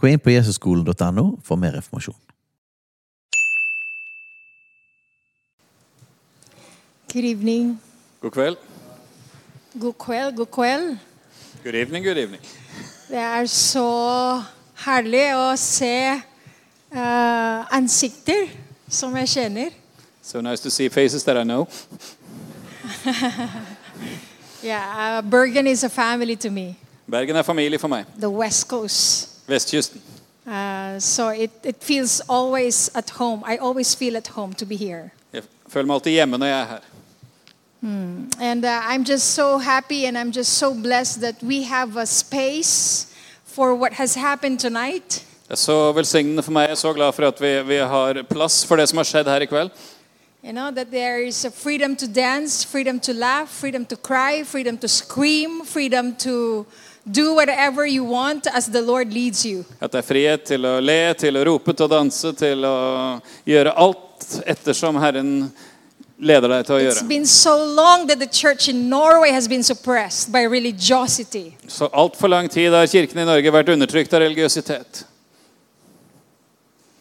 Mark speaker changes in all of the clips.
Speaker 1: Gå inn på jesusskolen.no for mer informasjon.
Speaker 2: Good evening.
Speaker 3: God kveld.
Speaker 2: God kveld, god kveld.
Speaker 3: Good evening, good evening.
Speaker 2: Det er så herlig å se eh, ansikter som jeg kjenner.
Speaker 3: So nice to see faces that I know.
Speaker 2: Yeah, uh, Bergen is a family to me,
Speaker 3: Bergen er familie for meg.
Speaker 2: the West Coast.
Speaker 3: Vestkysten.
Speaker 2: Uh, so it, it feels always at home. I always feel at home to be here.
Speaker 3: Jeg føler meg alltid hjemme når jeg er her.
Speaker 2: And uh, I'm just so happy and I'm just so blessed that we have a space for what has happened tonight.
Speaker 3: Det er så velsignende for meg. Jeg er så glad for at vi, vi har plass for det som har skjedd her i kveld.
Speaker 2: You know, that there is a freedom to dance, freedom to laugh, freedom to cry, freedom to scream, freedom to do whatever you want as the Lord leads you.
Speaker 3: At det er frihet til å le, til å rope, til å danse, til å gjøre alt ettersom Herren leder deg til å
Speaker 2: It's
Speaker 3: gjøre.
Speaker 2: been so long that the church in Norway has been suppressed by religiosity.
Speaker 3: Så altfor lang tid har kirken i Norge vært undertrykt av religiøsitet.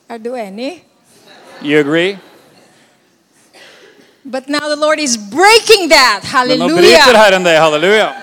Speaker 2: Are there any?
Speaker 3: You agree?
Speaker 2: But now the Lord is breaking that.
Speaker 3: Men nå bryter
Speaker 2: Hallelujah.
Speaker 3: Herren det. Halleluja.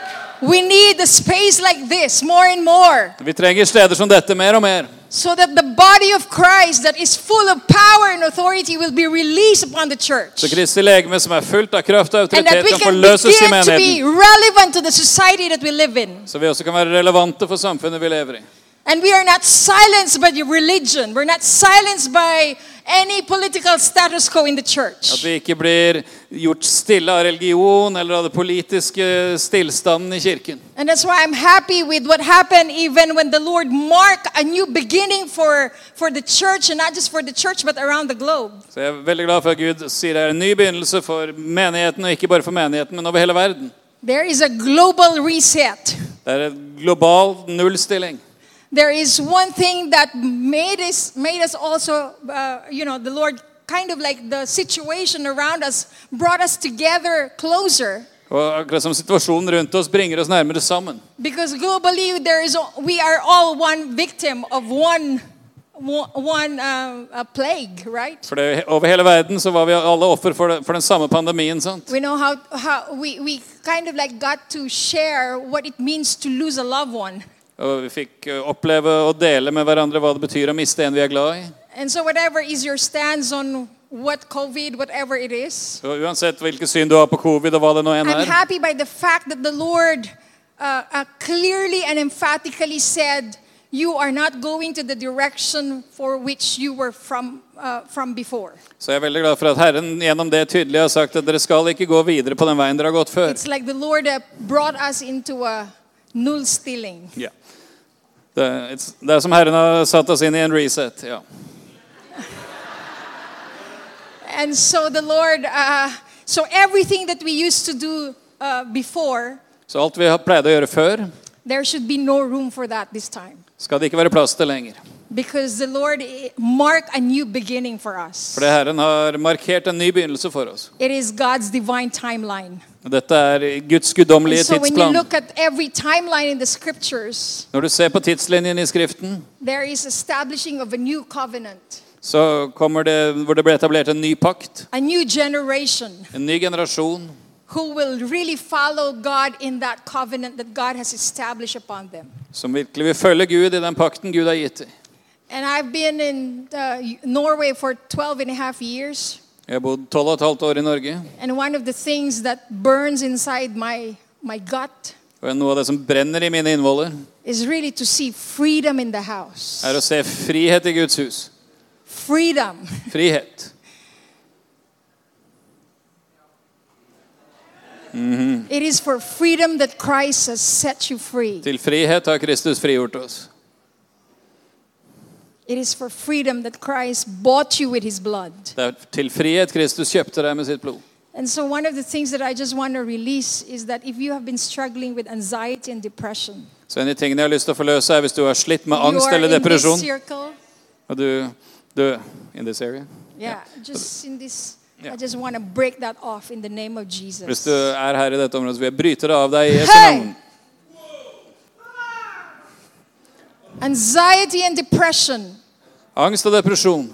Speaker 2: We need a space like this more and more
Speaker 3: Vi trenger steder som dette mer og mer.
Speaker 2: so that the body of Christ that is full of power and authority will be released upon the church.
Speaker 3: Så Kristi legeme som er fullt av kraft og
Speaker 2: and that
Speaker 3: autoritet,
Speaker 2: we
Speaker 3: kan
Speaker 2: can
Speaker 3: forløses i
Speaker 2: begin to be
Speaker 3: menigheten.
Speaker 2: relevant to the society that we live in.
Speaker 3: Så vi også kan være relevante for samfunnet vi lever i.
Speaker 2: And we are not silenced by the religion. We're not silenced by any political status quo in the
Speaker 3: At
Speaker 2: church.
Speaker 3: vi ikke blir gjort stille av religion eller av det politiske stillstanden i kirken.
Speaker 2: And that's why I'm happy with what happened even when the Lord marked a new beginning for, for the church, and not just for the church, but around the globe.
Speaker 3: Så jeg er veldig glad for at Gud sier det er en ny begynnelse for menigheten, og ikke bare for menigheten, men over hele verden.
Speaker 2: There is a global reset.
Speaker 3: Det er en global nullstilling.
Speaker 2: There is one thing that made us, made us also, uh, you know, the Lord kind of like the situation around us brought us together closer
Speaker 3: Og akkurat som situasjonen rundt oss bringer oss nærmere sammen.
Speaker 2: because globally there is we are all one victim of one one uh, uh, plague, right?
Speaker 3: For det, over hele verden så var vi alle offer for, det, for den samme pandemien. sant?
Speaker 2: We know how how we we kind of like got to share what it means to lose a loved one.
Speaker 3: Og vi fikk eh, oppleve og dele med hverandre hva det betyr å miste en vi er glad i.
Speaker 2: And so whatever is your stance on what COVID, whatever it is,
Speaker 3: Så uansett hvilket syn du har på covid og hva det nå enn
Speaker 2: I'm
Speaker 3: er,
Speaker 2: happy by the fact that the Lord uh, uh, clearly and emphatically said, "You are not going to the direction for which you were from uh, from before."
Speaker 3: så jeg er veldig glad for at Herren gjennom det tydelig har sagt at dere skal ikke gå videre på den veien dere har gått før.
Speaker 2: It's like the Lord uh, brought us into a null stealing.
Speaker 3: Ja. Det, it's, det er som Herren har satt oss inn i en reset. Ja.
Speaker 2: And so the Lord, uh, so everything that we used to do uh, before,
Speaker 3: Så alt vi har pleide å gjøre før,
Speaker 2: there should be no room for that this time.
Speaker 3: skal det ikke være plass til lenger.
Speaker 2: Because the Lord eh, marked a new beginning for us.
Speaker 3: Fordi Herren har markert en ny begynnelse for oss.
Speaker 2: It is God's divine timeline.
Speaker 3: Og Dette er Guds
Speaker 2: And
Speaker 3: guddommelige
Speaker 2: so when you
Speaker 3: tidsplan.
Speaker 2: look at every timeline in the scriptures,
Speaker 3: Når du ser på tidslinjen i Skriften,
Speaker 2: there is establishing of a new covenant,
Speaker 3: så kommer det hvor det ble etablert en ny pakt,
Speaker 2: a new generation
Speaker 3: en ny generasjon,
Speaker 2: who will really follow God in that covenant that God has established upon them.
Speaker 3: som virkelig vil følge Gud i den pakten Gud har gitt dem.
Speaker 2: And I've been in uh, Norway for 12 and a half years,
Speaker 3: Jeg har bodd tolv og et halvt år i Norge.
Speaker 2: and one of the things that burns inside my, my gut
Speaker 3: Og noe av det som brenner i mine innvoller,
Speaker 2: is really to see freedom in the house.
Speaker 3: er å se frihet i Guds hus.
Speaker 2: Freedom.
Speaker 3: Frihet.
Speaker 2: It is for freedom that Christ has set you free.
Speaker 3: Til frihet har Kristus frigjort oss.
Speaker 2: It is for freedom that Christ bought you with his blood.
Speaker 3: Det er til frihet Kristus kjøpte deg med sitt blod.
Speaker 2: And so, one of the things that I just want to release is that if you have been struggling with anxiety and depression,
Speaker 3: Så en av de tingene jeg har lyst til å forløse, er hvis du har slitt med
Speaker 2: you
Speaker 3: angst
Speaker 2: are
Speaker 3: eller
Speaker 2: in this
Speaker 3: depresjon
Speaker 2: circle.
Speaker 3: og du, du In this area.
Speaker 2: Yeah, just in this.
Speaker 3: Yeah.
Speaker 2: I just want to break that off in the name of
Speaker 3: Hvis
Speaker 2: Jesus.
Speaker 3: du er her i dette området, så vil jeg bryte det av deg i Jesu
Speaker 2: Hey!
Speaker 3: navn.
Speaker 2: Anxiety and depression,
Speaker 3: Angst og depresjon,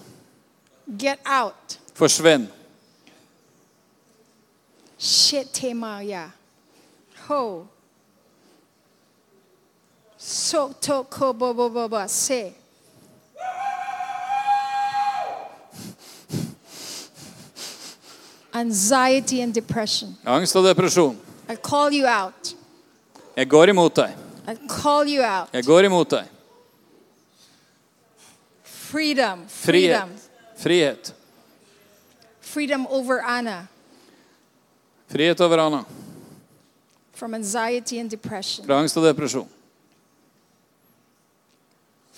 Speaker 2: get out.
Speaker 3: forsvinn.
Speaker 2: Shit, tema, yeah. Ho. So to ko bo bo bo bo se. Anxiety and depression.
Speaker 3: Angst og depresjon.
Speaker 2: I call you out.
Speaker 3: Jeg går imot deg.
Speaker 2: I call you out.
Speaker 3: Jeg går imot deg.
Speaker 2: Freedom. Freedom.
Speaker 3: Frihet. Frihet.
Speaker 2: Freedom over Anna
Speaker 3: Frihet over Anna.
Speaker 2: from anxiety and depression.
Speaker 3: Fra angst og depresjon.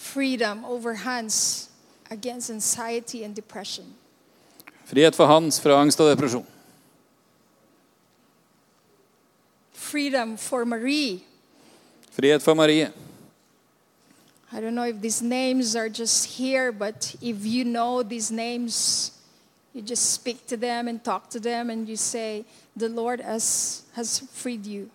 Speaker 2: Freedom over Hans against anxiety and depression.
Speaker 3: Frihet for Hans fra angst og depresjon.
Speaker 2: Freedom for Marie
Speaker 3: Frihet for Marie.
Speaker 2: I don't know if these names are just here, but if you know these names, you just speak to them and talk to them and you say, The Lord has, has freed you.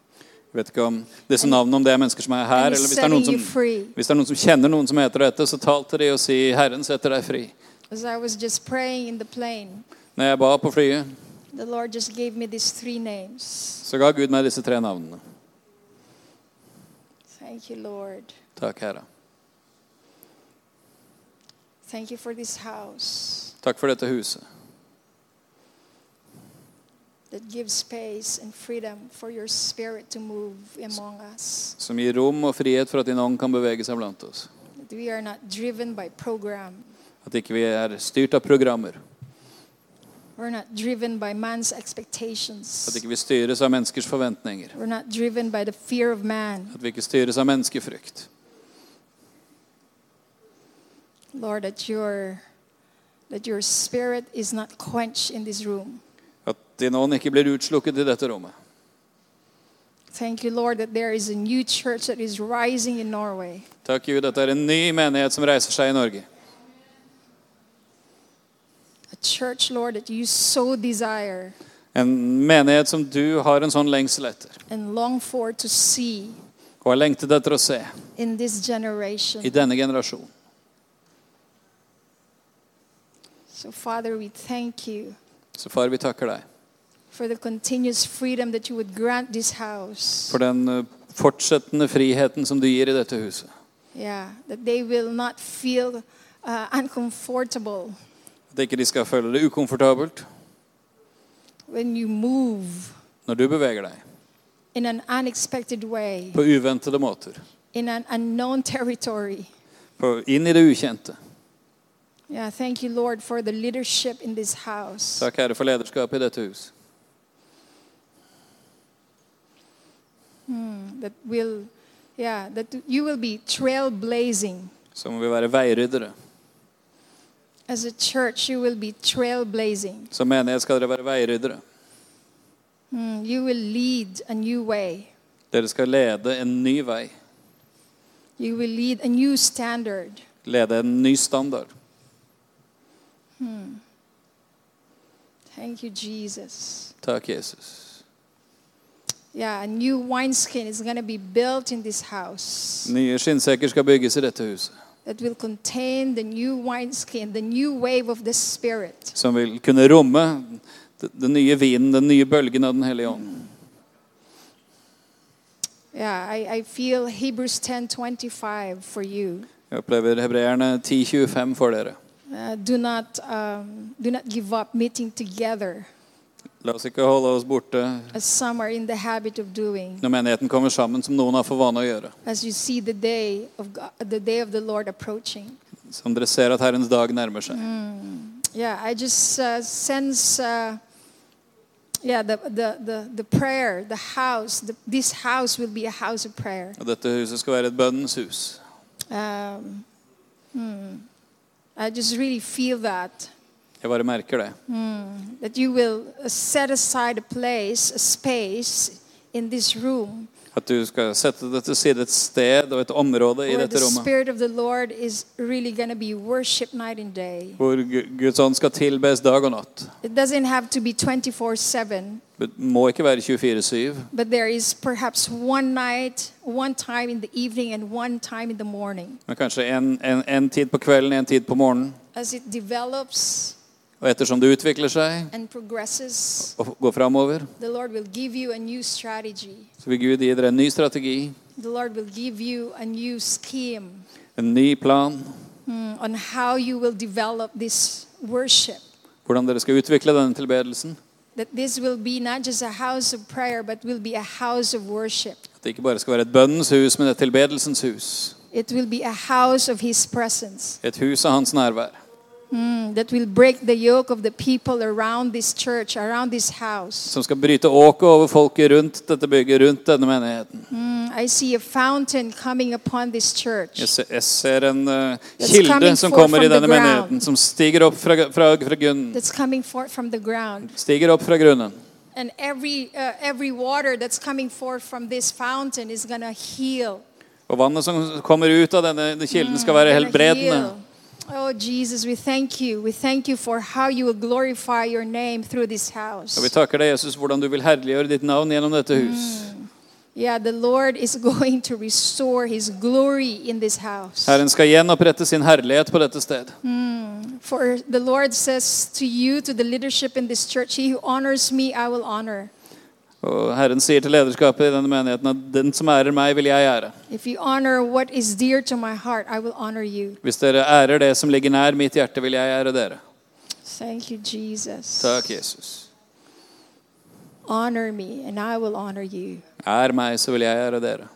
Speaker 3: Jeg vet ikke om disse navnene om det er mennesker som er her,
Speaker 2: And
Speaker 3: eller
Speaker 2: he's
Speaker 3: hvis det er noen
Speaker 2: setting you
Speaker 3: som,
Speaker 2: free.
Speaker 3: hvis det er noen som kjenner noen som heter dette, så tal til de og si 'Herren setter deg fri'.
Speaker 2: As I was just praying in the plane,
Speaker 3: Når jeg ba på flyet,
Speaker 2: the Lord just gave me these three names.
Speaker 3: så ga Gud meg disse tre navnene.
Speaker 2: Thank you, Lord.
Speaker 3: Takk, Herre.
Speaker 2: Thank you for this house
Speaker 3: Takk for dette huset,
Speaker 2: that gives space and freedom for your spirit to move among us.
Speaker 3: som gir rom og frihet for at din ånd kan bevege seg blant oss.
Speaker 2: That we are not driven by program,
Speaker 3: At ikke vi er styrt av programmer.
Speaker 2: we're not driven by man's
Speaker 3: At
Speaker 2: expectations.
Speaker 3: ikke vi styres av menneskers forventninger.
Speaker 2: We're not driven by the fear of man.
Speaker 3: At vi ikke styres av menneskefrykt.
Speaker 2: Lord, that your that your spirit is not quenched in this room.
Speaker 3: At din ånd ikke blir utslukket i dette rommet.
Speaker 2: Thank you, Lord, that there is a new church that is rising in Norway.
Speaker 3: Takk, Gud, at det er en ny menighet som reiser seg i Norge.
Speaker 2: A church, Lord, that you so desire
Speaker 3: En menighet som du har en sånn lengsel etter.
Speaker 2: and long for to see
Speaker 3: Og har lengtet etter å se
Speaker 2: in this
Speaker 3: i
Speaker 2: generation.
Speaker 3: denne generasjon.
Speaker 2: So, Father, we thank you
Speaker 3: Så far, vi takker deg
Speaker 2: for the continuous freedom that you would grant this house.
Speaker 3: for den eh, fortsettende friheten som du gir i dette huset.
Speaker 2: Yeah, that they will not feel uh, uncomfortable
Speaker 3: At ikke de skal føle det ukomfortabelt
Speaker 2: when you move
Speaker 3: når du beveger deg
Speaker 2: in an unexpected way.
Speaker 3: på uventede måter.
Speaker 2: in an unknown territory.
Speaker 3: På, inn i det ukjente.
Speaker 2: Yeah, thank you, Lord, for the leadership in this house.
Speaker 3: Takk, Herre, for lederskapet i dette hus.
Speaker 2: That will, yeah, that you will be trailblazing.
Speaker 3: Så må vi være veiryddere.
Speaker 2: As a church, you will be trailblazing.
Speaker 3: Som menighet skal dere være veiryddere.
Speaker 2: Mm, you will lead a new way.
Speaker 3: Dere skal lede en ny vei.
Speaker 2: You will lead a new standard.
Speaker 3: Lede en ny standard.
Speaker 2: Thank you, Jesus.
Speaker 3: Takk, Jesus.
Speaker 2: Yeah, a new wineskin is going to be built in this house
Speaker 3: Nye skinnsekker skal bygges i dette huset.
Speaker 2: that will contain the new wineskin, the new wave of the Spirit.
Speaker 3: Som vil kunne romme d- den nye vinen, den nye bølgen av Den hellige ånd.
Speaker 2: Yeah, I, I feel Hebrews 10:25 for you.
Speaker 3: Jeg opplever hebreerne 10.25 for dere.
Speaker 2: Uh, do not um, do not give up meeting together
Speaker 3: La oss ikke holde oss borte
Speaker 2: as some are in the habit of doing
Speaker 3: når menigheten kommer sammen, som noen har for vane å gjøre.
Speaker 2: as you see the day of God, the day of the Lord approaching
Speaker 3: Som dere ser at Herrens dag nærmer seg.
Speaker 2: yeah I just uh, sense uh, yeah the, the the the prayer the house the, this house will be a house of prayer
Speaker 3: Og dette huset skal være et bønnens hus.
Speaker 2: um, hmm. I just really feel that.
Speaker 3: Jeg bare merker det.
Speaker 2: That you will uh, set aside a place, a space in this room
Speaker 3: At du skal sette det til side et sted og et område i
Speaker 2: where the
Speaker 3: dette rommet.
Speaker 2: Spirit of the Lord is really going to be worship night and day.
Speaker 3: Hvor Gu- Guds ånd skal tilbes dag og natt.
Speaker 2: It doesn't have to be 24 7,
Speaker 3: Det må ikke være 24-7,
Speaker 2: but there is perhaps one night, one time in the evening, and one time in the morning.
Speaker 3: men kanskje en, en, en tid på kvelden, en tid på morgenen.
Speaker 2: As it develops
Speaker 3: Og ettersom det utvikler seg
Speaker 2: and progresses,
Speaker 3: og går framover,
Speaker 2: the Lord will give you a new strategy.
Speaker 3: så vil Gud gi dere en ny strategi,
Speaker 2: The Lord will give you a new scheme
Speaker 3: en ny plan,
Speaker 2: mm, on how you will develop this worship.
Speaker 3: hvordan dere skal utvikle denne tilbedelsen.
Speaker 2: That this will be not just a house of prayer, but will be a house of worship.
Speaker 3: At det ikke bare skal være et bønnens hus, men et tilbedelsens hus.
Speaker 2: It will be a house of His presence
Speaker 3: Et hus av hans nærvær.
Speaker 2: mm, that will break the yoke of the people around this church, around this house.
Speaker 3: Som skal bryte åket over folket rundt dette bygget, rundt denne menigheten.
Speaker 2: Mm, I see a fountain coming upon this church.
Speaker 3: Jeg ser, jeg ser en eh,
Speaker 2: That's
Speaker 3: kilde
Speaker 2: coming
Speaker 3: som
Speaker 2: forth
Speaker 3: kommer i
Speaker 2: from the
Speaker 3: denne
Speaker 2: ground.
Speaker 3: menigheten, som stiger opp fra, fra, fra, grunnen,
Speaker 2: That's coming forth from the ground,
Speaker 3: stiger opp fra grunnen.
Speaker 2: and every uh, every water that's coming forth from this fountain is gonna heal.
Speaker 3: Og vannet som kommer ut av denne kilden, skal være
Speaker 2: gonna
Speaker 3: helbredende.
Speaker 2: heal. Oh Jesus, we thank you. We thank you for how you will glorify your name through this
Speaker 3: Og vi
Speaker 2: house.
Speaker 3: takker deg, Jesus, hvordan du vil herliggjøre ditt navn gjennom dette hus.
Speaker 2: Yeah, the Lord is going to restore his glory in this house.
Speaker 3: Herren skal gjenopprette sin herlighet på dette sted.
Speaker 2: For the Lord says to you, to the leadership in this church, He who honors me, I will honor.
Speaker 3: Og Herren sier til lederskapet i denne menigheten at den som ærer meg, vil jeg ære.
Speaker 2: If you honor what is dear to my heart, I will honor you.
Speaker 3: Hvis dere ærer det som ligger nær mitt hjerte, vil jeg ære dere.
Speaker 2: Thank you, Jesus.
Speaker 3: Takk, Jesus.
Speaker 2: Honor me, and I will honor you.
Speaker 3: Ær meg, så vil jeg ære dere.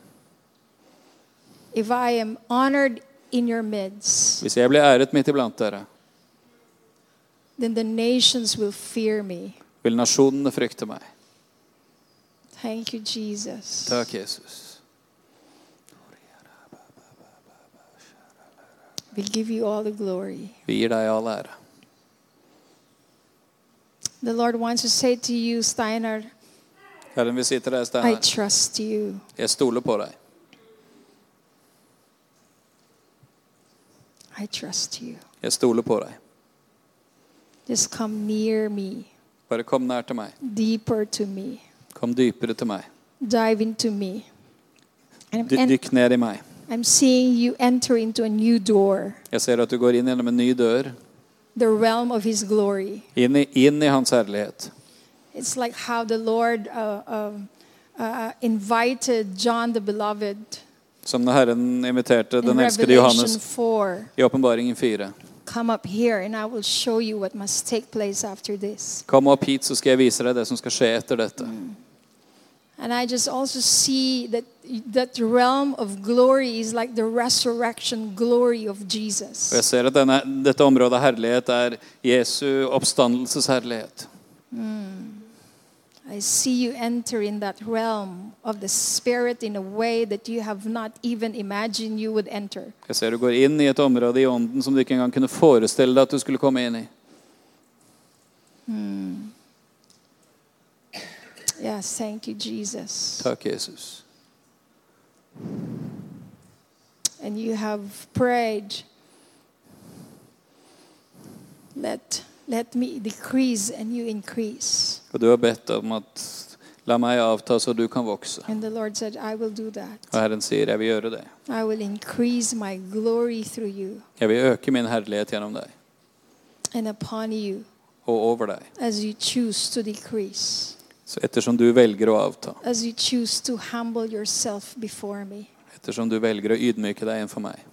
Speaker 2: If I am honored in your midst,
Speaker 3: Hvis jeg blir æret midt iblant dere,
Speaker 2: then the nations will fear me.
Speaker 3: vil nasjonene frykte meg.
Speaker 2: Thank you, Jesus.
Speaker 3: Takk, Jesus.
Speaker 2: We give you all the glory.
Speaker 3: Vi gir deg all ære.
Speaker 2: The Lord wants to say to you, Steiner,
Speaker 3: Herren vil si til deg,
Speaker 2: I
Speaker 3: Steinar,
Speaker 2: trust you.
Speaker 3: jeg stoler på deg.
Speaker 2: I trust you.
Speaker 3: Jeg stoler på deg.
Speaker 2: Just come near me,
Speaker 3: Bare kom nær til meg.
Speaker 2: deeper to me.
Speaker 3: Kom dypere til meg.
Speaker 2: dive into me. And
Speaker 3: Dy
Speaker 2: I'm, en-
Speaker 3: dykk ned i meg.
Speaker 2: I'm seeing you enter into a new door,
Speaker 3: Jeg ser at du går inn gjennom en ny dør,
Speaker 2: the realm of His glory.
Speaker 3: inn i, inn i hans herlighet.
Speaker 2: It's like how the Lord uh, um, uh, invited John the Beloved
Speaker 3: Som når Herren inviterte
Speaker 2: in
Speaker 3: den elskede
Speaker 2: Revelation
Speaker 3: Johannes
Speaker 2: 4
Speaker 3: i åpenbaringen 4.
Speaker 2: Come up here, and I will show you what must take place after this.
Speaker 3: Kom opp hit, så skal jeg vise deg det som skal skje etter dette.
Speaker 2: And I just also see that that realm of glory is like the resurrection glory of
Speaker 3: Og jeg
Speaker 2: Jesus.
Speaker 3: ser at denne, dette området av herlighet er Jesu oppstandelsesherlighet.
Speaker 2: I see you enter in that realm of the spirit in a way that you have not even imagined you would enter.
Speaker 3: Jeg ser du går inn i et område i ånden som du ikke engang kunne forestille deg at du skulle komme inn i.
Speaker 2: Yes, thank you, Jesus.
Speaker 3: Takk, Jesus.
Speaker 2: And you have prayed. Let, let me decrease and you increase.
Speaker 3: Og du har bedt om at la meg avta så du kan vokse.
Speaker 2: And the Lord said, I will do that.
Speaker 3: Og Herren sier jeg vil gjøre det.
Speaker 2: I will increase my glory through you
Speaker 3: Jeg vil øke min herlighet gjennom deg
Speaker 2: and upon you
Speaker 3: og over deg.
Speaker 2: as you choose to decrease,
Speaker 3: Så ettersom du velger å avta,
Speaker 2: as you choose to humble yourself before me.
Speaker 3: ettersom du velger å ydmyke deg innenfor meg,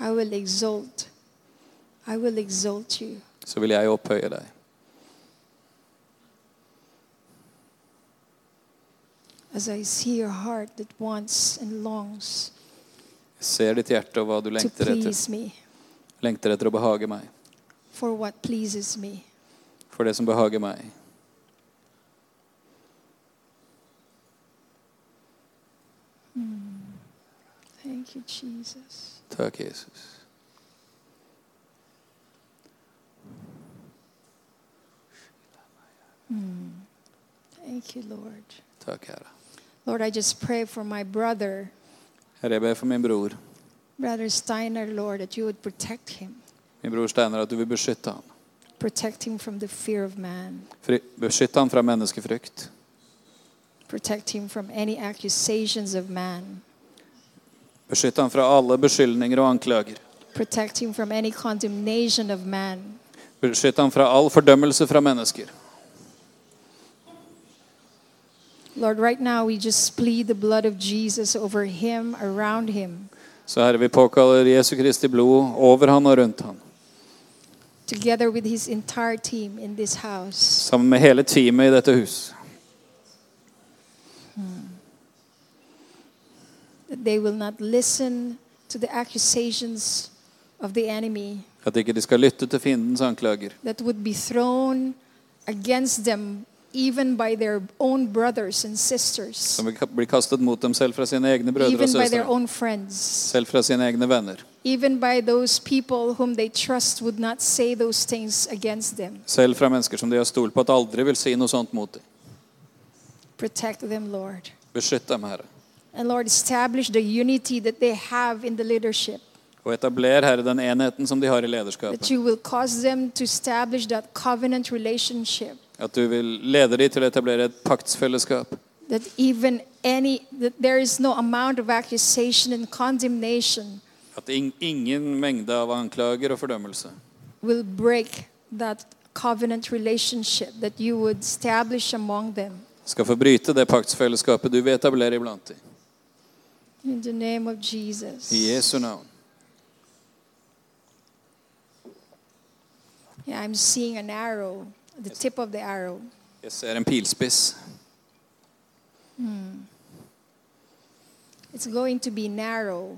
Speaker 2: I will exalt. I will exalt you.
Speaker 3: så vil jeg opphøye deg.
Speaker 2: As I see your heart that wants and longs
Speaker 3: Jeg ser ditt hjerte og hva du
Speaker 2: to
Speaker 3: lengter etter.
Speaker 2: please me
Speaker 3: Lengter etter å behage meg.
Speaker 2: for what pleases me.
Speaker 3: For det som behager meg.
Speaker 2: Thank you, Jesus.
Speaker 3: Takk, Jesus.
Speaker 2: Thank you, Lord.
Speaker 3: Takk, Herre.
Speaker 2: Lord, I just pray for my brother,
Speaker 3: Herre, jeg ber for min bror,
Speaker 2: Brother Steiner, Lord, that you would protect him.
Speaker 3: min bror Steinar, at du vil beskytte ham.
Speaker 2: Protect him from the fear of man.
Speaker 3: Fri- Beskytte ham fra menneskefrykt.
Speaker 2: Protect him from any accusations of man.
Speaker 3: Beskytte ham fra alle beskyldninger og anklager.
Speaker 2: Protect him from any condemnation of man.
Speaker 3: Beskytte ham fra all fordømmelse fra mennesker.
Speaker 2: Lord, right now we just plead the blood of Jesus over him, around him,
Speaker 3: Så Herre, vi påkaller Jesu Kristi blod over han og rundt han.
Speaker 2: together with his entire team in this house.
Speaker 3: Sammen med hele teamet i dette hus.
Speaker 2: That they will not listen to the accusations of the enemy
Speaker 3: At ikke de skal lytte til fiendens anklager.
Speaker 2: that would be thrown against them, even by their own brothers and sisters,
Speaker 3: Som blir kastet mot dem selv fra sine egne brødre og
Speaker 2: even by their
Speaker 3: søstre.
Speaker 2: own friends,
Speaker 3: Selv fra sine egne venner.
Speaker 2: even by those people whom they trust would not say those things against them.
Speaker 3: Selv fra mennesker som de har stolt på at aldri vil si noe sånt mot dem.
Speaker 2: Protect them, Lord.
Speaker 3: Beskytt dem, Herre.
Speaker 2: And Lord, establish the unity that they have in the leadership,
Speaker 3: Og etabler, Herre, den enheten som de har i
Speaker 2: that
Speaker 3: lederskapet.
Speaker 2: you will cause them to establish that covenant relationship,
Speaker 3: At du vil lede de til å etablere et paktsfellesskap.
Speaker 2: that even any, that there is no amount of accusation and condemnation
Speaker 3: At ing- ingen mengde av anklager og fordømmelse
Speaker 2: will break that covenant relationship that you would establish among them.
Speaker 3: skal få bryte det paktsfellesskapet du vil etablere iblant dem.
Speaker 2: In the name of Jesus.
Speaker 3: I Jesu navn.
Speaker 2: Yeah, I'm seeing an arrow, the tip of the arrow.
Speaker 3: Jeg ser en pilspiss.
Speaker 2: It's going to be narrow,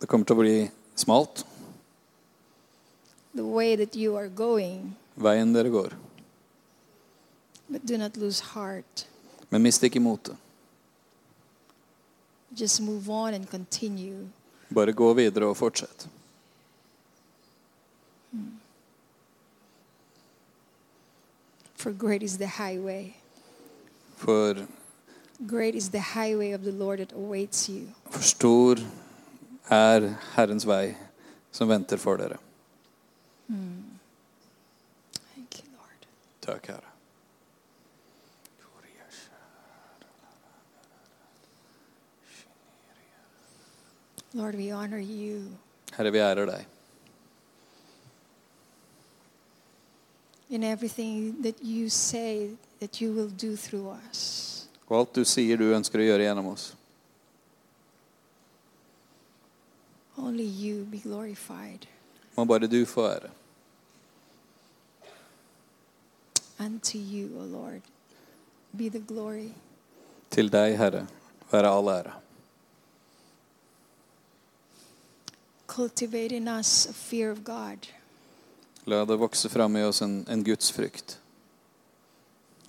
Speaker 3: Det kommer til å bli smalt,
Speaker 2: the way that you are going,
Speaker 3: veien dere går.
Speaker 2: but do not lose heart.
Speaker 3: Men mist ikke motet.
Speaker 2: Just move on and continue.
Speaker 3: Bare gå videre og fortsett.
Speaker 2: For great is the highway.
Speaker 3: For,
Speaker 2: Great is the highway of the Lord that awaits you.
Speaker 3: for stor er Herrens vei som venter for dere.
Speaker 2: Thank you, Lord.
Speaker 3: Takk, Herre.
Speaker 2: Lord, we honor you.
Speaker 3: Herre, vi ærer deg.
Speaker 2: in everything that you say that you will do through us.
Speaker 3: Og alt du sier du ønsker å gjøre gjennom oss.
Speaker 2: Only you be glorified
Speaker 3: Må bare du få ære.
Speaker 2: unto you, O Lord. Be the glory.
Speaker 3: Til deg, Herre, være all ære.
Speaker 2: Cultivate in us a fear of God,
Speaker 3: La det vokse fram i oss en, en Guds frykt,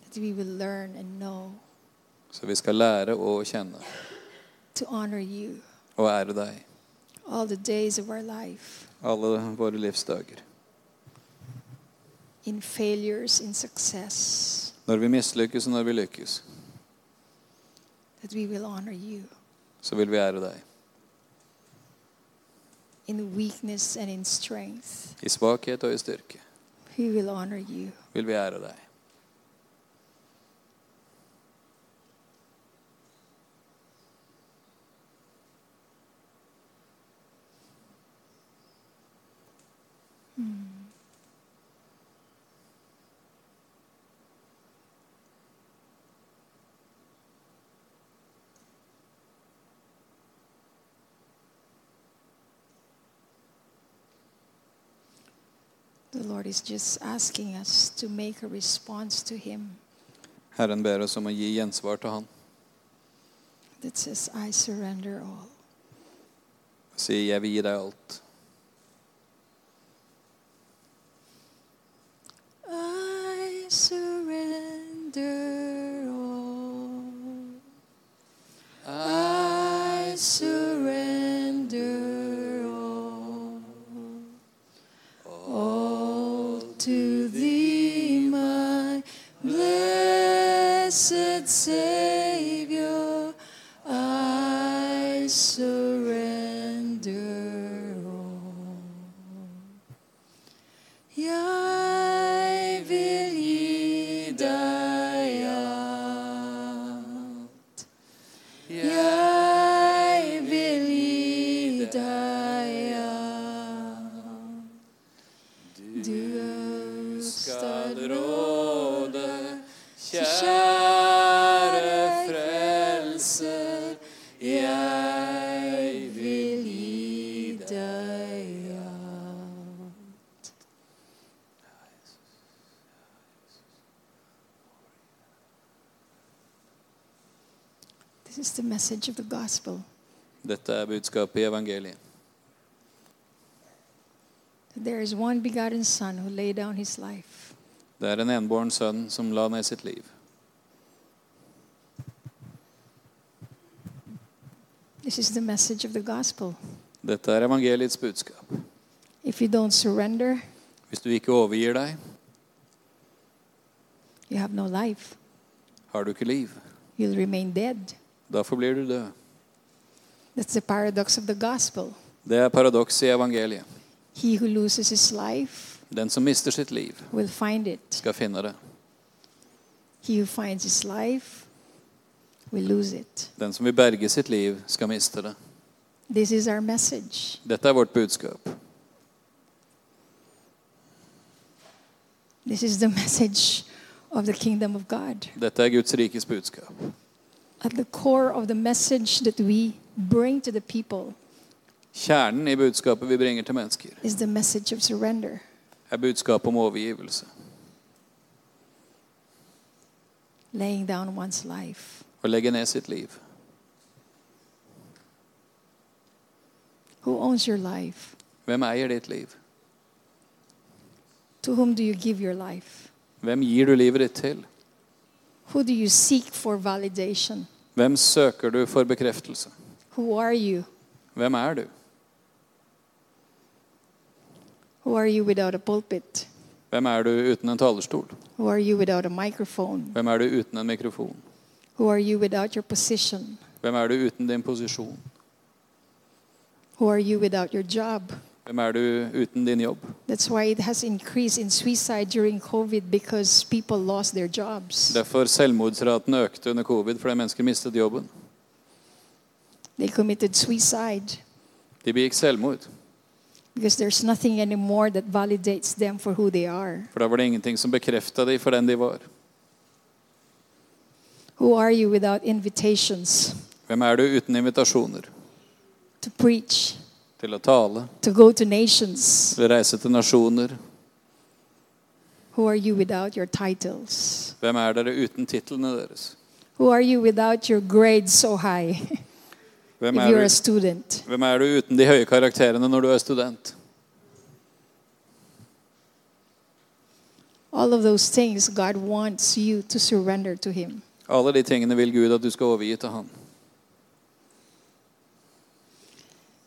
Speaker 2: that we will learn and know
Speaker 3: så vi skal lære å kjenne
Speaker 2: to honor you
Speaker 3: og ære deg
Speaker 2: all the days of our life,
Speaker 3: alle våre livsdager.
Speaker 2: in failures, in success,
Speaker 3: Når vi mislykkes og når vi lykkes,
Speaker 2: that we will honor you
Speaker 3: så vil vi ære deg.
Speaker 2: in weakness and in strength.
Speaker 3: I svakhet og i styrke
Speaker 2: We will honor you.
Speaker 3: vil vi ære deg.
Speaker 2: The Lord is just asking us to make a response to Him
Speaker 3: Herren ber oss om å gi gjensvar til Han.
Speaker 2: that says, I surrender all.
Speaker 3: Si 'jeg vil gi deg alt'.
Speaker 2: I surrender all. I surrender all. All to thee, my
Speaker 4: blessed Savior, I surrender all. Jeg vil gi deg alt. Jeg vil gi deg alt. Du skal råde, kjære frelser. Jeg vil gi deg alt.
Speaker 2: This is the message of the gospel.
Speaker 3: Dette er budskapet i evangeliet.
Speaker 2: There is one begotten Son who laid down his life
Speaker 3: Det er en enbåren sønn som la ned sitt liv.
Speaker 2: This is the message of the gospel.
Speaker 3: Dette er evangeliets budskap.
Speaker 2: If you don't surrender,
Speaker 3: Hvis du ikke overgir deg,
Speaker 2: you have no life.
Speaker 3: har du ikke liv.
Speaker 2: You'll remain dead.
Speaker 3: Da forblir du død.
Speaker 2: That's the paradox of the gospel.
Speaker 3: Det er paradokset i evangeliet.
Speaker 2: He who loses his life
Speaker 3: Den som mister sitt liv,
Speaker 2: will find it.
Speaker 3: skal finne det.
Speaker 2: He who finds his life will lose it.
Speaker 3: Den som vil berge sitt liv, skal miste det.
Speaker 2: This is our message.
Speaker 3: Dette er vårt budskap.
Speaker 2: This is the message of the kingdom of God.
Speaker 3: Dette er Guds rikes budskap.
Speaker 2: At the core of the message that we bring to the people
Speaker 3: Kjernen i budskapet vi bringer til mennesker,
Speaker 2: is the message of surrender.
Speaker 3: er budskapet om overgivelse.
Speaker 2: laying down one's life.
Speaker 3: Å legge ned sitt liv.
Speaker 2: Who owns your life?
Speaker 3: Hvem eier ditt liv?
Speaker 2: To whom do you give your life?
Speaker 3: Hvem gir du livet ditt til?
Speaker 2: Who do you seek for validation?
Speaker 3: Hvem søker du for bekreftelse?
Speaker 2: Who are you?
Speaker 3: Hvem er du?
Speaker 2: Who are you without a pulpit?
Speaker 3: Hvem er du uten en talerstol?
Speaker 2: Who are you without a microphone?
Speaker 3: Hvem er du uten en mikrofon?
Speaker 2: Who are you without your position?
Speaker 3: Hvem er du uten din posisjon?
Speaker 2: Who are you without your job?
Speaker 3: Hvem er du uten din jobb?
Speaker 2: That's why it has increased in suicide during COVID because people lost their jobs.
Speaker 3: Derfor selvmordsraten økte under covid fordi mennesker mistet jobben.
Speaker 2: They committed suicide
Speaker 3: De begikk selvmord,
Speaker 2: because there's nothing anymore that validates them for who they are.
Speaker 3: for da var det ingenting som bekrefta dem for den de var.
Speaker 2: Who are you without invitations
Speaker 3: Hvem er du uten invitasjoner?
Speaker 2: to preach,
Speaker 3: Til å tale,
Speaker 2: to go to nations?
Speaker 3: til å reise til nasjoner.
Speaker 2: Who are you without your titles?
Speaker 3: Hvem er dere uten titlene deres?
Speaker 2: Who are you without your grades so high
Speaker 3: Hvem
Speaker 2: if
Speaker 3: er,
Speaker 2: you're a
Speaker 3: du,
Speaker 2: student?
Speaker 3: hvem er du uten de høye karakterene når du er student?
Speaker 2: All of those things God wants you to surrender to Him.
Speaker 3: Alle de tingene vil Gud at du skal overgi til Han.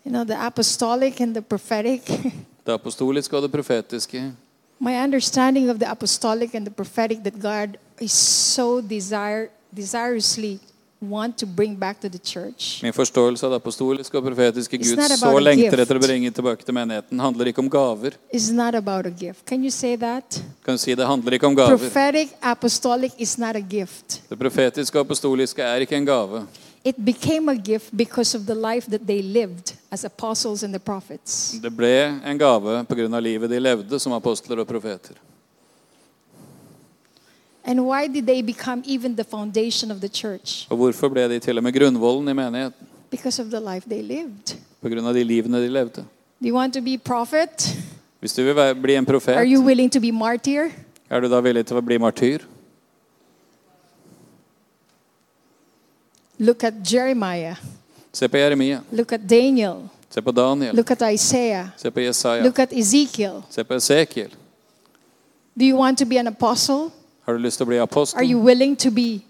Speaker 2: You know, the apostolic and the prophetic.
Speaker 3: Det apostoliske og det profetiske.
Speaker 2: My understanding of the apostolic and the prophetic that God is so desire, desirously want to bring back to the church.
Speaker 3: Min forståelse av det apostoliske og profetiske
Speaker 2: It's
Speaker 3: Gud
Speaker 2: not
Speaker 3: så
Speaker 2: about a
Speaker 3: lengter
Speaker 2: gift.
Speaker 3: etter å bringe tilbake til menigheten, handler ikke om gaver.
Speaker 2: is not about a gift. Can you say that?
Speaker 3: Kan du si Det handler ikke om gaver.
Speaker 2: Prophetic apostolic is not a gift.
Speaker 3: Det profetiske og apostoliske er ikke en gave.
Speaker 2: It became a gift because of the life that they lived as apostles and the prophets.
Speaker 3: Det ble en gave pga. livet de levde som apostler og profeter.
Speaker 2: And why did they become even the foundation of the church?
Speaker 3: Og hvorfor ble de til og med grunnvollen i menigheten?
Speaker 2: Because of the life they lived.
Speaker 3: Pga. de livene de levde.
Speaker 2: Do you want to be prophet?
Speaker 3: Hvis du vil være- bli en profet,
Speaker 2: Are you willing to be martyr?
Speaker 3: er du da villig til å bli martyr?
Speaker 2: Look at Jeremiah.
Speaker 3: Se på Jeremia.
Speaker 2: Look at Daniel.
Speaker 3: Se på Daniel.
Speaker 2: Look at Isaiah.
Speaker 3: Se på Jesaja.
Speaker 2: Look at Ezekiel.
Speaker 3: Se på Esekiel.
Speaker 2: Do you want to be an apostle?
Speaker 3: Har du lyst til å bli
Speaker 2: Are you
Speaker 3: apostel?
Speaker 2: willing to be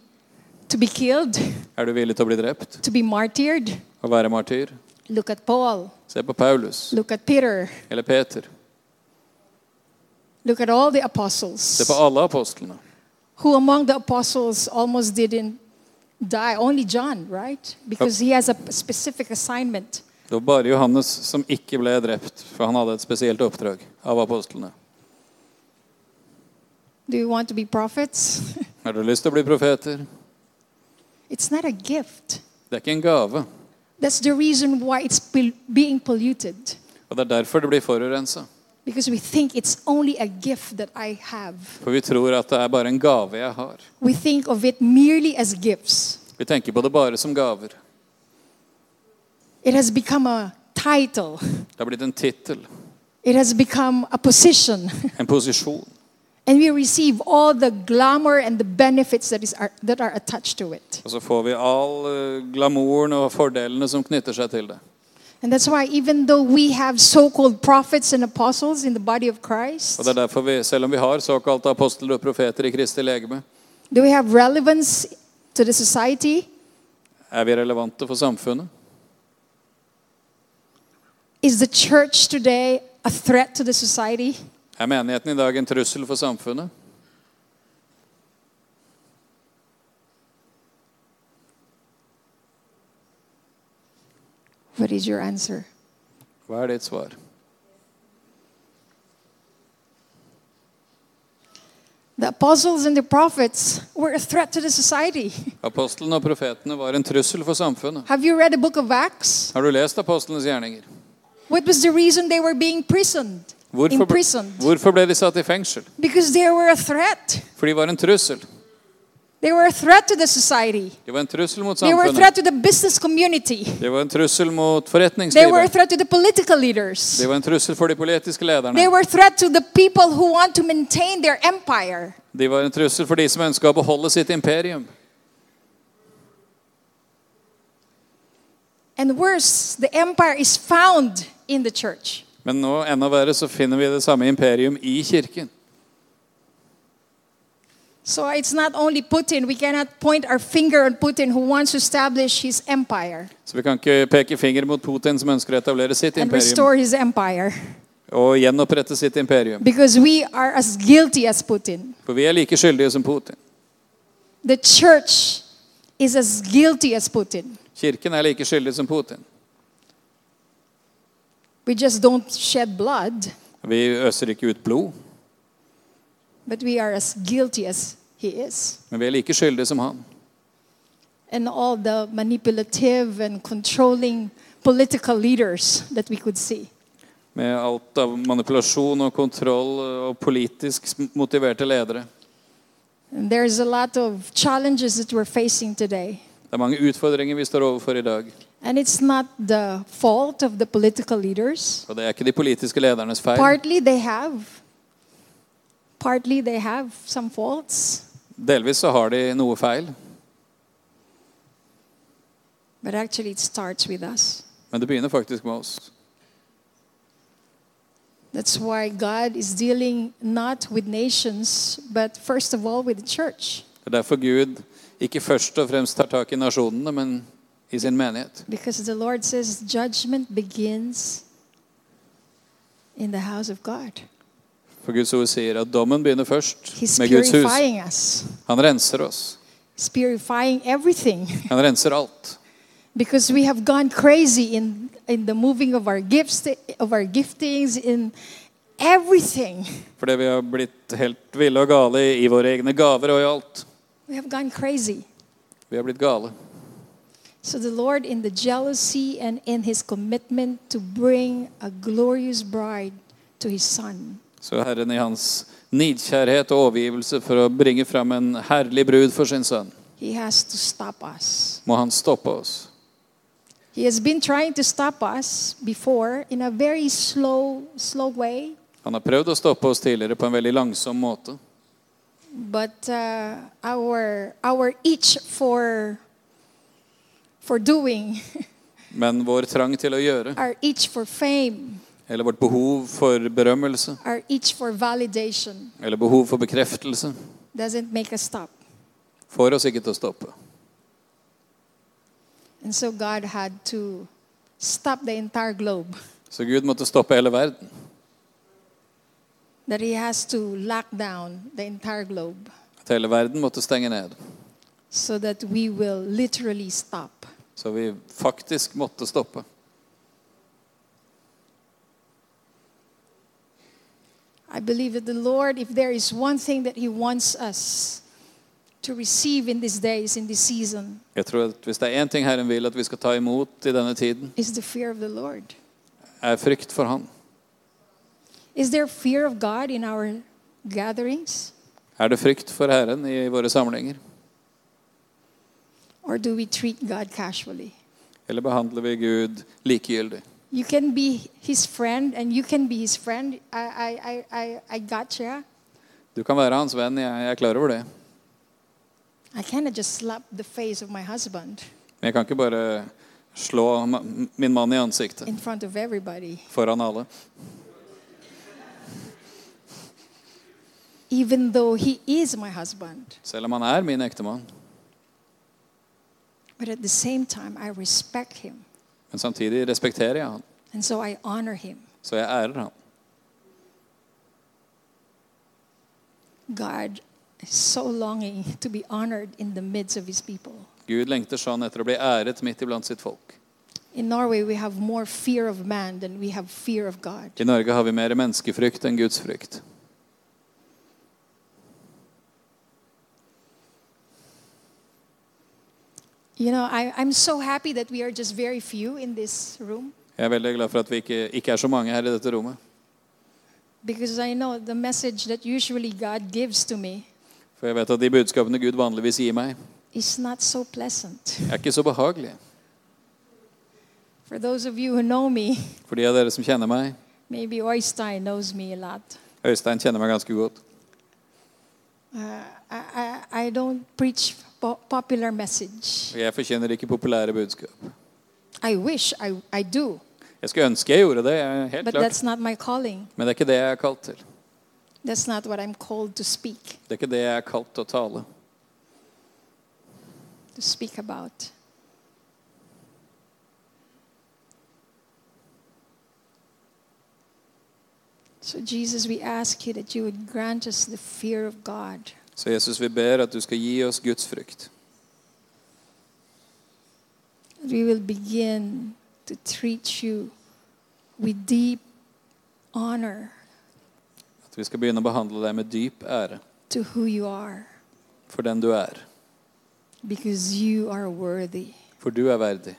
Speaker 2: to be killed,
Speaker 3: Er du villig til å bli drept
Speaker 2: to be martyred?
Speaker 3: og være martyr?
Speaker 2: Look at Paul.
Speaker 3: Se på Paulus
Speaker 2: Look at Peter.
Speaker 3: eller Peter.
Speaker 2: Look at all the
Speaker 3: Se på
Speaker 2: apostles.
Speaker 3: alle apostlene.
Speaker 2: who among the apostles almost didn't die? Only John, right? Because he has a p- specific assignment.
Speaker 3: Det var bare Johannes som ikke ble drept, for han hadde et spesielt oppdrag av apostlene.
Speaker 2: Do you want to be prophets?
Speaker 3: Har dere lyst til å bli profeter?
Speaker 2: it's not a gift.
Speaker 3: Det er ikke en gave.
Speaker 2: That's the reason why it's pol- being polluted.
Speaker 3: Og det er derfor det blir forurensa.
Speaker 2: Because we think it's only a gift that I have.
Speaker 3: For vi tror at det er bare en gave jeg har.
Speaker 2: We think of it merely as gifts.
Speaker 3: Vi tenker på det bare som gaver.
Speaker 2: It has become a title,
Speaker 3: Det har blitt en tittel,
Speaker 2: it has become a position.
Speaker 3: en posisjon.
Speaker 2: and we receive all the glamour and the benefits that, is are, that are attached to it.
Speaker 3: Og så får vi all eh, glamouren og fordelene som knytter seg til det.
Speaker 2: And that's why, even though we have so called prophets and apostles in the body of Christ,
Speaker 3: Og det er derfor vi, selv om vi har såkalte apostler og profeter i Kristi legeme,
Speaker 2: do we have relevance to the society?
Speaker 3: er vi relevante for samfunnet.
Speaker 2: Is the church today a threat to the society?
Speaker 3: Er menigheten i dag en trussel for samfunnet?
Speaker 2: What is your answer?
Speaker 3: Hva er ditt svar?
Speaker 2: The apostles and the prophets were a threat to the society.
Speaker 3: Apostlene og profetene var en trussel for samfunnet.
Speaker 2: Have you read the book of Acts?
Speaker 3: Har du lest apostlenes gjerninger?
Speaker 2: What was the reason they were being imprisoned?
Speaker 3: Hvorfor, ble-
Speaker 2: imprisoned.
Speaker 3: hvorfor ble de satt i fengsel?
Speaker 2: Because they were a threat.
Speaker 3: For de var en trussel.
Speaker 2: They were a threat to the society.
Speaker 3: De var en trussel mot
Speaker 2: They were a threat
Speaker 3: samfunnet.
Speaker 2: to the business community.
Speaker 3: De var en trussel mot
Speaker 2: They were a
Speaker 3: forretningslivet.
Speaker 2: threat to the political leaders.
Speaker 3: De var en trussel for de politiske
Speaker 2: They
Speaker 3: lederne.
Speaker 2: were a threat to the people who want to maintain their empire.
Speaker 3: De var en trussel for de som ønska å beholde sitt imperium.
Speaker 2: And worse, the empire is found in the church.
Speaker 3: Men nå, enda verre, så finner vi det samme imperium i kirken.
Speaker 2: So it's not only Putin. We cannot point our finger on Putin who wants to establish his empire
Speaker 3: Så vi kan ikke peke finger mot Putin, som ønsker å etablere sitt
Speaker 2: and
Speaker 3: imperium.
Speaker 2: restore his empire.
Speaker 3: Og gjenopprette sitt imperium.
Speaker 2: Because we are as guilty as Putin.
Speaker 3: For vi er like skyldige som Putin.
Speaker 2: The church is as guilty as Putin.
Speaker 3: Kirken er like skyldig som Putin.
Speaker 2: We just don't shed blood,
Speaker 3: Vi øser ikke ut blod,
Speaker 2: but we are as guilty as he is.
Speaker 3: men vi er like skyldige som han.
Speaker 2: And all the manipulative and controlling political leaders that we could see.
Speaker 3: Med alt av manipulasjon og kontroll og politisk motiverte ledere.
Speaker 2: And there's a lot of challenges that we're facing today.
Speaker 3: Det er mange utfordringer vi står overfor i dag.
Speaker 2: And it's not the fault of the political leaders.
Speaker 3: Og det er ikke de politiske ledernes feil.
Speaker 2: Partly they have. Partly they have some faults.
Speaker 3: Delvis så har de noe feil,
Speaker 2: But actually, it starts with us.
Speaker 3: men det begynner faktisk med oss.
Speaker 2: That's why God is dealing not with nations, but first of all with the church,
Speaker 3: Det er derfor Gud ikke først og fremst tar tak i nasjonene, men i sin menighet.
Speaker 2: because the Lord says judgment begins in the house of God.
Speaker 3: For Guds ord sier at dommen begynner først
Speaker 2: He's
Speaker 3: med Guds hus.
Speaker 2: purifying us,
Speaker 3: Han renser oss.
Speaker 2: He's purifying everything
Speaker 3: Han renser alt.
Speaker 2: because we have gone crazy in, in the moving of our gifts, of our giftings, in everything.
Speaker 3: Fordi vi har blitt helt ville og gale i våre egne gaver og i alt.
Speaker 2: We have gone crazy.
Speaker 3: Vi har blitt gale.
Speaker 2: So the Lord, in the jealousy and in his commitment to bring a glorious bride to his son,
Speaker 3: Så Herren i hans nidkjærhet og overgivelse for å bringe fram en herlig brud for sin sønn,
Speaker 2: he has to stop us.
Speaker 3: må han stoppe oss.
Speaker 2: He has been trying to stop us before in a very slow, slow way,
Speaker 3: Han har prøvd å stoppe oss tidligere på en veldig langsom måte.
Speaker 2: but uh, our our itch for for doing,
Speaker 3: Men vår trang til å gjøre,
Speaker 2: our itch for fame,
Speaker 3: eller vårt behov for berømmelse,
Speaker 2: our itch for validation
Speaker 3: eller behov for bekreftelse,
Speaker 2: doesn't make us stop.
Speaker 3: får oss ikke til å stoppe.
Speaker 2: And so God had to stop the entire globe.
Speaker 3: Så Gud måtte stoppe hele verden.
Speaker 2: that he has to lock down the entire globe
Speaker 3: Televerden måtte stenge ned.
Speaker 2: so that we will literally stop.
Speaker 3: Så vi faktisk måtte stoppe.
Speaker 2: I believe that the Lord, if there is one thing that He wants us to receive in these days, in this season,
Speaker 3: Jeg tror at Hvis det er én ting Herren vil at vi skal ta imot i denne tiden,
Speaker 2: is the fear of the Lord.
Speaker 3: er frykt for Han.
Speaker 2: Is there fear of God in our gatherings?
Speaker 3: Er det frykt for Herren i våre samlinger?
Speaker 2: Or do we treat God casually?
Speaker 3: Eller behandler vi Gud likegyldig?
Speaker 2: You can be His friend, and you can be His friend. I, I, I, I, I gotcha.
Speaker 3: Du kan være hans venn, jeg, jeg er klar over det.
Speaker 2: I cannot just slap the face of my husband
Speaker 3: Men jeg kan ikke bare slå ma- min mann i ansiktet
Speaker 2: in front of everybody,
Speaker 3: foran alle.
Speaker 2: even though he is my husband.
Speaker 3: Selv om han er min ektemann.
Speaker 2: But at the same time, I respect him,
Speaker 3: Men samtidig respekterer jeg han,
Speaker 2: and so I honor him.
Speaker 3: så jeg ærer han.
Speaker 2: God is so longing to be honored in the midst of his people.
Speaker 3: Gud lengter sånn etter å bli æret midt iblant sitt folk.
Speaker 2: In Norway, we have more fear of man than we have fear of God.
Speaker 3: I Norge har vi mer menneskefrykt enn Guds frykt.
Speaker 2: You know, I, I'm so happy that we are just very few in this room
Speaker 3: Jeg er veldig glad for at vi ikke, ikke er så mange her i dette rommet.
Speaker 2: because I know the message that usually God gives to me
Speaker 3: For jeg vet at de budskapene Gud vanligvis gir meg,
Speaker 2: is not so pleasant.
Speaker 3: er ikke så behagelige.
Speaker 2: For those of you who know me,
Speaker 3: For de av dere som kjenner meg
Speaker 2: maybe Oystein knows me a lot.
Speaker 3: Øystein kjenner meg ganske godt.
Speaker 2: Uh, I, I, I don't preach po- popular message.
Speaker 3: Og jeg forkynner ikke populære budskap.
Speaker 2: I wish I, I do,
Speaker 3: Jeg skulle ønske jeg gjorde det, jeg er helt
Speaker 2: but
Speaker 3: klart.
Speaker 2: that's not my calling.
Speaker 3: Men det er ikke det jeg er kalt til.
Speaker 2: That's not what I'm called to speak,
Speaker 3: Det er ikke det jeg er kalt til å tale.
Speaker 2: to speak about. So, Jesus, we ask you that you would grant us the fear of God.
Speaker 3: Så Jesus, vi ber at du skal gi oss Guds frykt.
Speaker 2: that We will begin to treat you with deep honor
Speaker 3: At vi skal begynne å behandle deg med dyp ære
Speaker 2: to who you are,
Speaker 3: for den du er.
Speaker 2: because you are worthy.
Speaker 3: For du er verdig.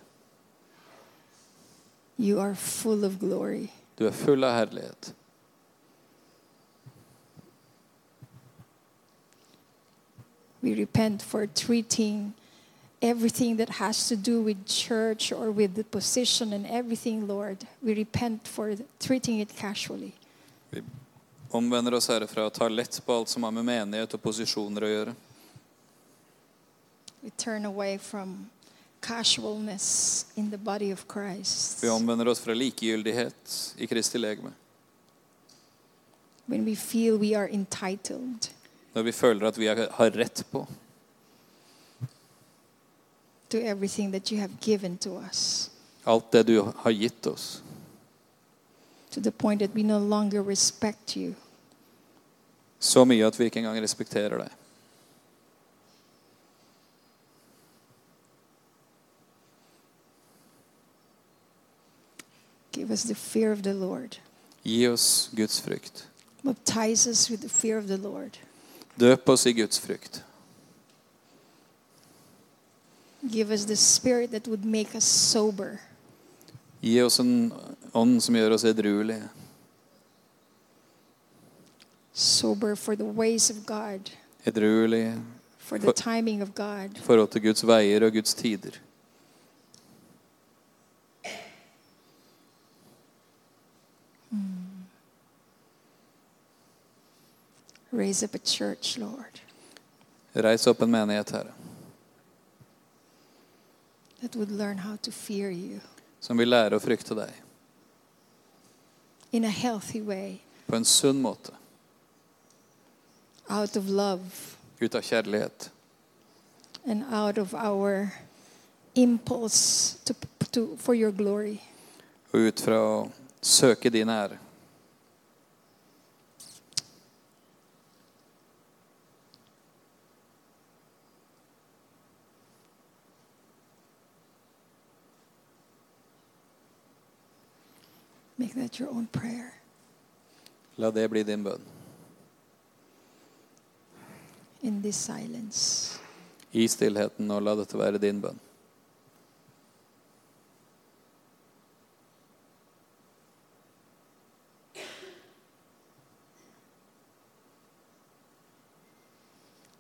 Speaker 2: You are full of glory.
Speaker 3: Du er full av herlighet.
Speaker 2: We repent for treating everything that has to do with church or with the position and everything, Lord. We repent for treating it casually.
Speaker 3: Omvender oss, Herre, fra å ta lett på alt som har med menighet og posisjoner å gjøre.
Speaker 2: We turn away from casualness in the body of Christ.
Speaker 3: Vi omvender oss fra likegyldighet i Kristi legeme.
Speaker 2: When we feel we are entitled
Speaker 3: Når vi føler at vi er- har rett på
Speaker 2: to everything that you have given to us,
Speaker 3: alt det du har gitt oss.
Speaker 2: to the point that we no longer respect you.
Speaker 3: Så mye at vi ikke engang respekterer deg.
Speaker 2: Give us the fear of the Lord.
Speaker 3: Gi oss Guds frykt.
Speaker 2: Baptize us with the fear of the Lord.
Speaker 3: Døp oss i Guds frykt.
Speaker 2: Give us the spirit that would make us sober.
Speaker 3: Gi oss en ånd som gjør oss edruelige.
Speaker 2: sober for the ways of God,
Speaker 3: Edruelige
Speaker 2: for the
Speaker 3: For-
Speaker 2: timing of God.
Speaker 3: i forhold til Guds veier og Guds tider.
Speaker 2: Raise up a church, Lord,
Speaker 3: Reis opp en menighet, Herre,
Speaker 2: that would learn how to fear you
Speaker 3: som vil lære å frykte deg
Speaker 2: in a healthy way,
Speaker 3: på en sunn måte,
Speaker 2: out of love
Speaker 3: ut av kjærlighet.
Speaker 2: and out of our impulse to, to, for your glory.
Speaker 3: og ut fra å søke din ære.
Speaker 2: Make that your own prayer.
Speaker 3: La det bli din bønn.
Speaker 2: in this silence.
Speaker 3: I stillheten, og la dette være din bønn.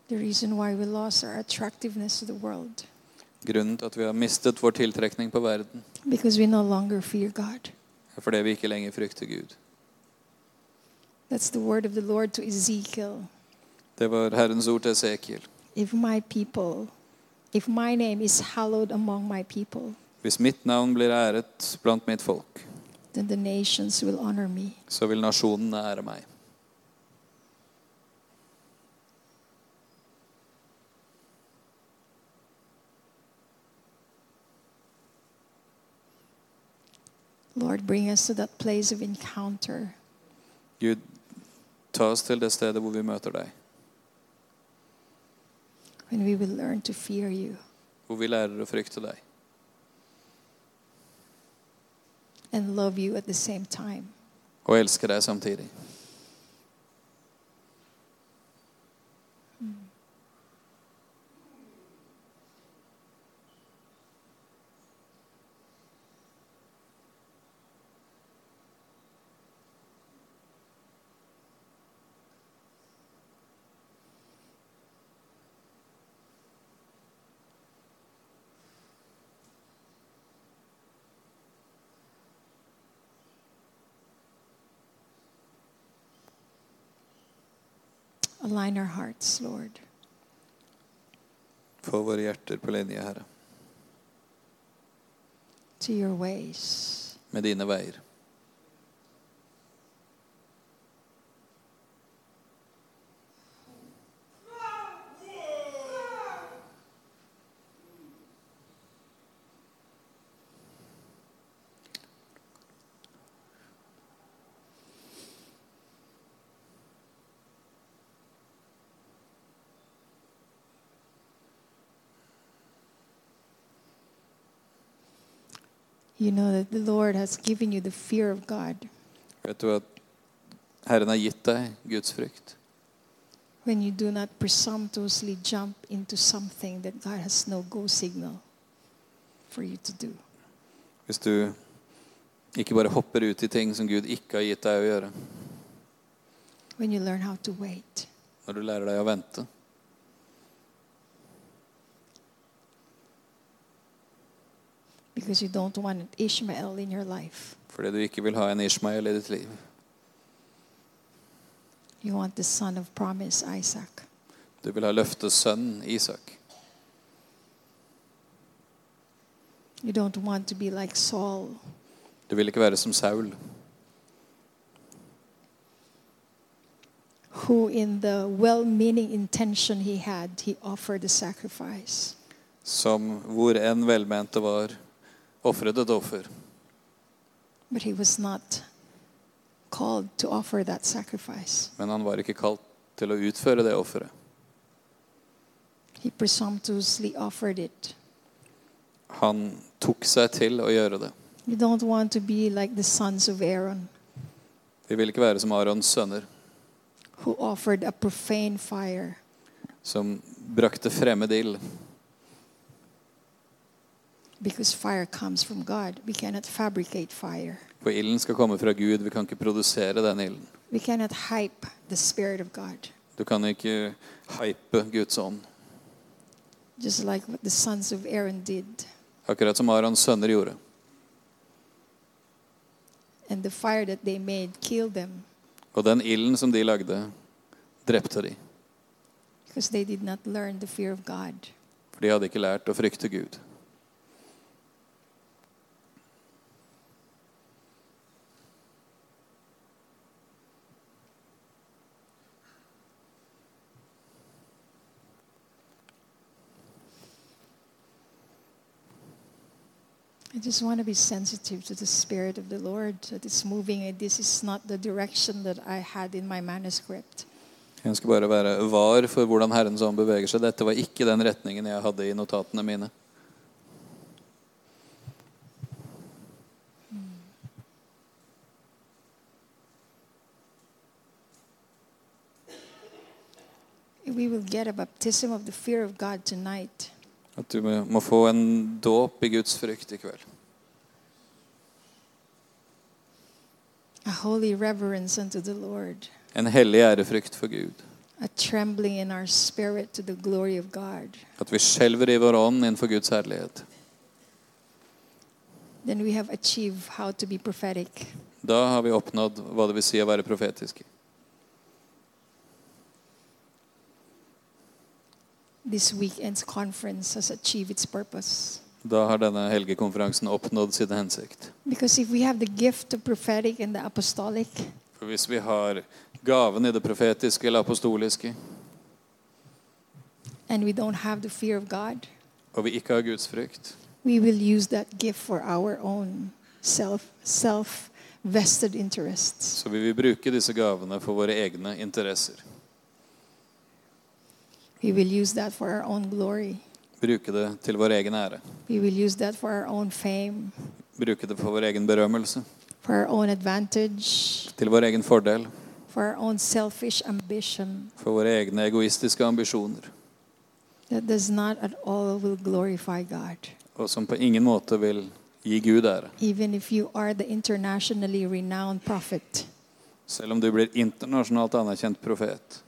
Speaker 2: The reason why we lost our attractiveness to the world
Speaker 3: Grunnen til at vi har mistet vår tiltrekning på verden,
Speaker 2: because we no longer fear God.
Speaker 3: er fordi vi ikke lenger frykter Gud.
Speaker 2: That's the word of the Lord to Ezekiel.
Speaker 3: Det var Herrens ord til Esekiel.
Speaker 2: If my people, if my name is hallowed among my people,
Speaker 3: Hvis mitt navn blir æret blant mitt folk,
Speaker 2: then the nations will honor me.
Speaker 3: så vil nasjonene ære meg.
Speaker 2: Lord, bring us to that place of encounter
Speaker 3: Gud, ta oss til det stedet hvor vi møter deg,
Speaker 2: when we will learn to fear you
Speaker 3: hvor vi lærer å frykte deg,
Speaker 2: and love you at the same time.
Speaker 3: og elsker deg samtidig.
Speaker 2: Align our hearts, Lord.
Speaker 3: Få våre hjerter på linje, Herre,
Speaker 2: to your ways.
Speaker 3: med dine veier.
Speaker 2: You know that the Lord has given you the fear of God.
Speaker 3: Vet du at Herren har gitt deg Guds frykt?
Speaker 2: When you do not presumptuously jump into something that God has no go signal for you to do.
Speaker 3: Hvis du ikke bare hopper ut i ting som Gud ikke har gitt deg å gjøre,
Speaker 2: When you learn how to wait,
Speaker 3: når du lærer deg å vente,
Speaker 2: because you don't want an Ishmael in your life.
Speaker 3: fordi du ikke vil ha en Ishmael i ditt liv.
Speaker 2: You want the son of promise, Isaac.
Speaker 3: Du vil ha løftets sønn, Isak.
Speaker 2: You don't want to be like Saul,
Speaker 3: Du vil ikke være som Saul,
Speaker 2: who, in the well meaning intention he had, he offered a sacrifice.
Speaker 3: som hvor enn velmente var, ofret et offer.
Speaker 2: But he was not called to offer that sacrifice.
Speaker 3: Men han var ikke kalt til å utføre det offeret.
Speaker 2: He presumptuously offered it.
Speaker 3: Han tok seg til å gjøre det.
Speaker 2: You don't want to be like the sons of Aaron,
Speaker 3: De vil ikke være som Arons sønner,
Speaker 2: who offered a profane fire.
Speaker 3: som brakte fremmed ild.
Speaker 2: Because fire comes from God. We cannot fabricate fire.
Speaker 3: For ilden skal komme fra Gud, vi kan ikke produsere den ilden.
Speaker 2: We cannot hype the Spirit of God.
Speaker 3: Du kan ikke hype Guds ånd.
Speaker 2: Just like what the sons of Aaron did.
Speaker 3: Akkurat som Arons sønner gjorde.
Speaker 2: And the fire that they made killed them
Speaker 3: Og den ilden som de lagde, drepte de.
Speaker 2: because they did not learn the fear of God.
Speaker 3: For de hadde ikke lært å frykte Gud.
Speaker 2: I just want to be sensitive to the Spirit of the Lord that is moving. And this is not the direction that I had in my manuscript.
Speaker 3: Jeg ønsker bare å være var for hvordan Herrens ånd beveger seg. Dette var ikke den retningen jeg hadde i notatene mine.
Speaker 2: we will get a baptism of the fear of God tonight.
Speaker 3: At du må må få en dåp i Guds frykt i kveld.
Speaker 2: A holy reverence unto the Lord,
Speaker 3: En hellig ærefrykt for Gud.
Speaker 2: a trembling in our spirit to the glory of God.
Speaker 3: At vi skjelver i vår ånd innenfor Guds herlighet.
Speaker 2: Then we have achieved how to be prophetic.
Speaker 3: Da har vi oppnådd hva det vil si å være profetiske.
Speaker 2: This weekend's conference has achieved its purpose.
Speaker 3: Da har denne helgekonferansen oppnådd sin hensikt.
Speaker 2: Because if we have the gift of prophetic and the apostolic,
Speaker 3: For hvis vi har gaven i det profetiske eller apostoliske,
Speaker 2: and we don't have the fear of God,
Speaker 3: og vi ikke har Guds frykt,
Speaker 2: we will use that gift for our own self self vested interests.
Speaker 3: så vil vi bruke disse gavene for våre egne interesser.
Speaker 2: We will use that for our own glory.
Speaker 3: Bruke det til vår egen ære.
Speaker 2: We will use that for our own fame,
Speaker 3: Bruke det for vår egen berømmelse.
Speaker 2: for our own advantage,
Speaker 3: Til vår egen fordel.
Speaker 2: for our own selfish ambition
Speaker 3: For våre egne egoistiske ambisjoner.
Speaker 2: that does not at all will glorify God.
Speaker 3: Og som på ingen måte vil gi Gud ære.
Speaker 2: Even if you are the internationally renowned prophet,
Speaker 3: Selv om du blir internasjonalt anerkjent profet.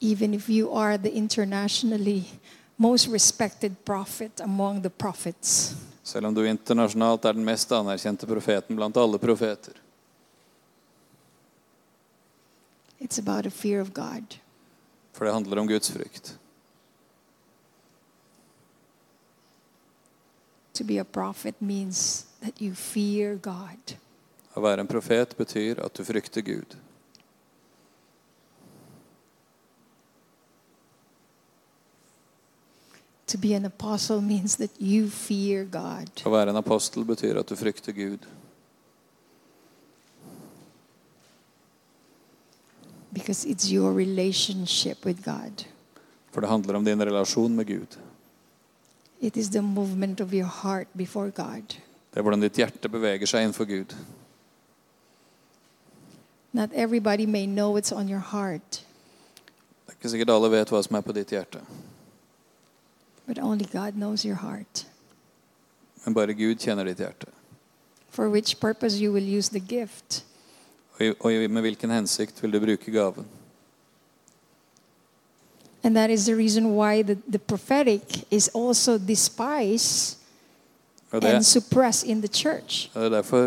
Speaker 2: even if you are the internationally most respected prophet among the prophets,
Speaker 3: Selv om du internasjonalt er den mest anerkjente profeten blant alle profeter.
Speaker 2: it's about a fear of God.
Speaker 3: For det handler om Guds frykt.
Speaker 2: To be a prophet means that you fear God.
Speaker 3: Å være en profet betyr at du frykter Gud.
Speaker 2: To be an apostle means that you fear God.
Speaker 3: Å være en apostel betyr at du frykter Gud.
Speaker 2: Because it's your relationship with God.
Speaker 3: For det handler om din relasjon med Gud.
Speaker 2: It is the movement of your heart before God.
Speaker 3: Det er hvordan ditt hjerte beveger seg innenfor Gud.
Speaker 2: Not everybody may know what's on your heart,
Speaker 3: Det er ikke sikkert alle vet hva som er på ditt hjerte.
Speaker 2: but only God knows your heart.
Speaker 3: Men bare Gud kjenner ditt hjerte.
Speaker 2: For which purpose you will use the gift.
Speaker 3: Og i- Og i- med hvilken hensikt vil du bruke gaven?
Speaker 2: And that is the reason why the, the prophetic is also despised
Speaker 3: Og det,
Speaker 2: and suppressed in the church.
Speaker 3: og det er derfor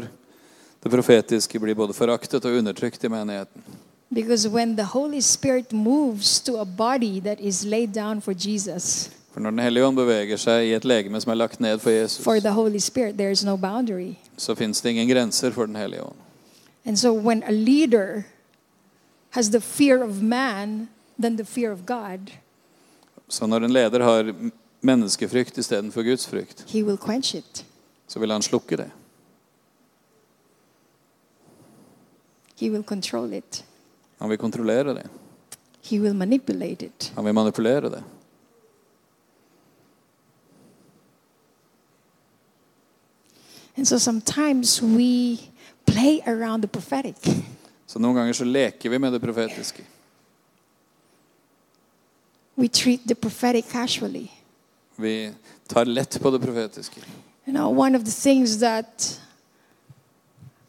Speaker 3: det profetiske blir både foraktet og undertrykt i menigheten.
Speaker 2: Because when the Holy Spirit moves to a body that is laid down for Jesus,
Speaker 3: For når Den hellige ånd beveger seg i et legeme som er lagt ned for Jesus,
Speaker 2: for the Holy Spirit, there is no boundary.
Speaker 3: så fins det ingen grenser for Den hellige ånd.
Speaker 2: And so when a leader has the fear of man than the fear of God,
Speaker 3: Så når en leder har m- menneskefrykt istedenfor Guds frykt,
Speaker 2: he will quench it.
Speaker 3: så vil han slukke det.
Speaker 2: He will control it.
Speaker 3: Han vil kontrollere det.
Speaker 2: He will manipulate it.
Speaker 3: Han vil manipulere det.
Speaker 2: And so sometimes we play around the prophetic.
Speaker 3: Så noen ganger så leker vi med det profetiske.
Speaker 2: We treat the prophetic casually.
Speaker 3: Vi tar lett på det profetiske.
Speaker 2: You know, one of the things that,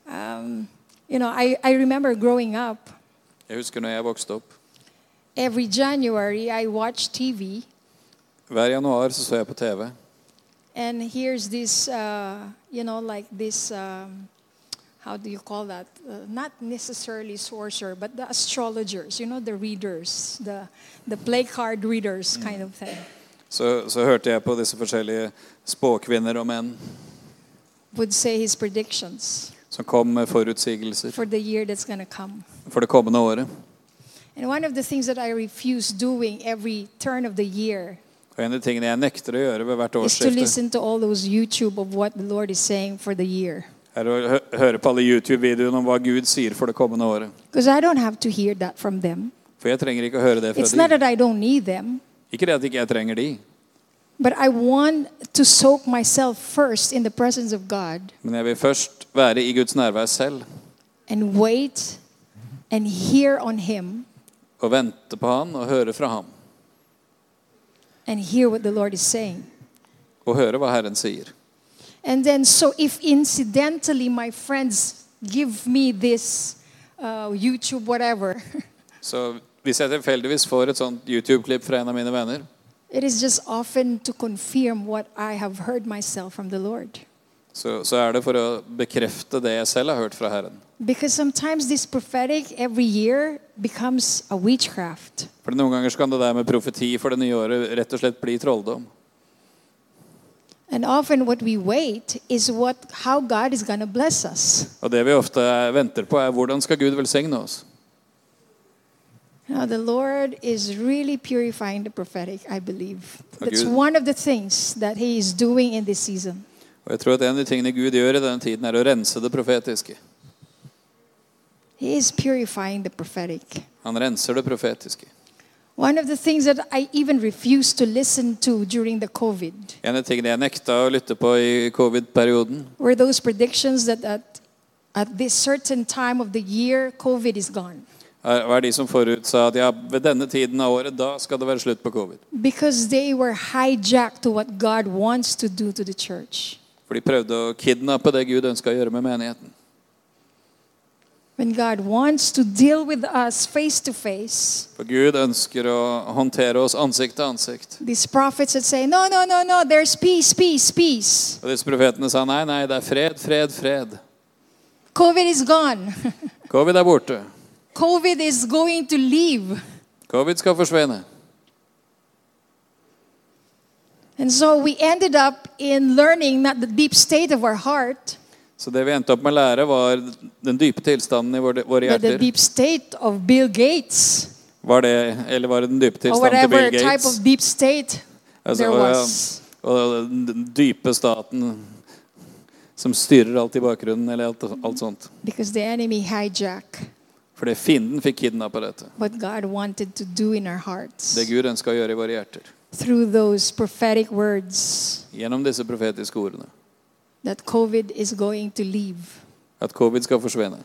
Speaker 2: um, you know, I, I remember growing up,
Speaker 3: Jeg husker når jeg vokste opp.
Speaker 2: every January I watched TV,
Speaker 3: Hver januar så, så jeg på TV.
Speaker 2: and here's this, uh, you know, like this, um, how do you call that? Uh, not necessarily sorcerer, but the astrologers, you know, the readers, the, the play card readers kind of thing.
Speaker 3: Så, så hørte jeg på disse forskjellige spåkvinner og menn
Speaker 2: Would say his predictions
Speaker 3: som kom med forutsigelser
Speaker 2: for the year that's going to come.
Speaker 3: for det kommende året.
Speaker 2: And one of the things that I refuse doing every turn of the year
Speaker 3: Og en av de tingene jeg nekter å gjøre ved hvert
Speaker 2: is to
Speaker 3: årsskifte,
Speaker 2: listen to all those YouTube of what the Lord is saying for the year.
Speaker 3: er å hø- høre på alle YouTube-videoene om hva Gud sier for det kommende året.
Speaker 2: Because I don't have to hear that from them.
Speaker 3: For jeg trenger ikke å høre det
Speaker 2: It's
Speaker 3: fra
Speaker 2: not
Speaker 3: de.
Speaker 2: that I don't need them,
Speaker 3: Ikke det at ikke jeg trenger de,
Speaker 2: but I want to soak myself first in the presence of God
Speaker 3: men jeg vil først være i Guds nærvær selv
Speaker 2: and wait and hear on Him
Speaker 3: og vente på han og høre fra ham.
Speaker 2: and hear what the Lord is saying.
Speaker 3: Og høre hva Herren sier.
Speaker 2: And then, so if incidentally my friends give me this uh, YouTube, whatever,
Speaker 3: Så hvis jeg tilfeldigvis får et sånt YouTube-klipp fra en av mine venner,
Speaker 2: it is just often to confirm what I have heard myself from the Lord.
Speaker 3: så, så er det for å bekrefte det jeg selv har hørt fra Herren.
Speaker 2: Because sometimes this prophetic every year becomes a witchcraft.
Speaker 3: For noen ganger så kan det der med profeti for det nye året rett og slett bli trolldom.
Speaker 2: And often what we wait is what how God is going to bless us.
Speaker 3: Og det vi ofte venter på, er hvordan skal Gud velsigne oss?
Speaker 2: Now the Lord is really purifying the prophetic, I believe. That's
Speaker 3: Gud-
Speaker 2: one of the things that he is doing in this season.
Speaker 3: Og jeg tror at en av de tingene Gud gjør i denne tiden, er å rense det profetiske.
Speaker 2: He is purifying the prophetic.
Speaker 3: Han renser det profetiske.
Speaker 2: One of the things that I even refused to listen to during the COVID
Speaker 3: En av de tingene jeg nekta å lytte på i covid-perioden,
Speaker 2: were those predictions that at, at this certain time of the year, COVID is gone.
Speaker 3: er- var de som forutsa at ja, ved denne tiden av året, da skal det være slutt på covid.
Speaker 2: Because they were hijacked to what God wants to do to the church.
Speaker 3: For de prøvde å kidnappe det Gud ønska å gjøre med menigheten.
Speaker 2: When God wants to deal with us face to face,
Speaker 3: For Gud ønsker å håndtere oss ansikt til ansikt.
Speaker 2: these prophets that say, No, no, no, no, there's peace, peace, peace.
Speaker 3: Og disse profetene sa nei, nei, det er fred, fred, fred.
Speaker 2: COVID is gone.
Speaker 3: Covid er borte.
Speaker 2: COVID is going to leave.
Speaker 3: Covid skal forsvinne.
Speaker 2: And so we ended up in learning not the deep state of our heart,
Speaker 3: Så det vi endte opp med å lære, var den dype tilstanden i våre, våre
Speaker 2: but the
Speaker 3: hjerter.
Speaker 2: deep state of Bill Gates
Speaker 3: Var det, eller var det den dype
Speaker 2: or
Speaker 3: tilstanden til
Speaker 2: whatever
Speaker 3: Bill
Speaker 2: type
Speaker 3: Gates?
Speaker 2: of deep state
Speaker 3: Altså,
Speaker 2: there
Speaker 3: og, ja,
Speaker 2: was.
Speaker 3: og den dype staten som styrer alt i bakgrunnen, eller alt, alt sånt.
Speaker 2: Because the enemy hijacked
Speaker 3: Fordi fienden fikk kidnappa dette.
Speaker 2: what God wanted to do in our hearts
Speaker 3: Det Gud ønska å gjøre i våre hjerter.
Speaker 2: through those prophetic words
Speaker 3: Gjennom disse profetiske ordene.
Speaker 2: that COVID is going to leave.
Speaker 3: At covid skal forsvinne.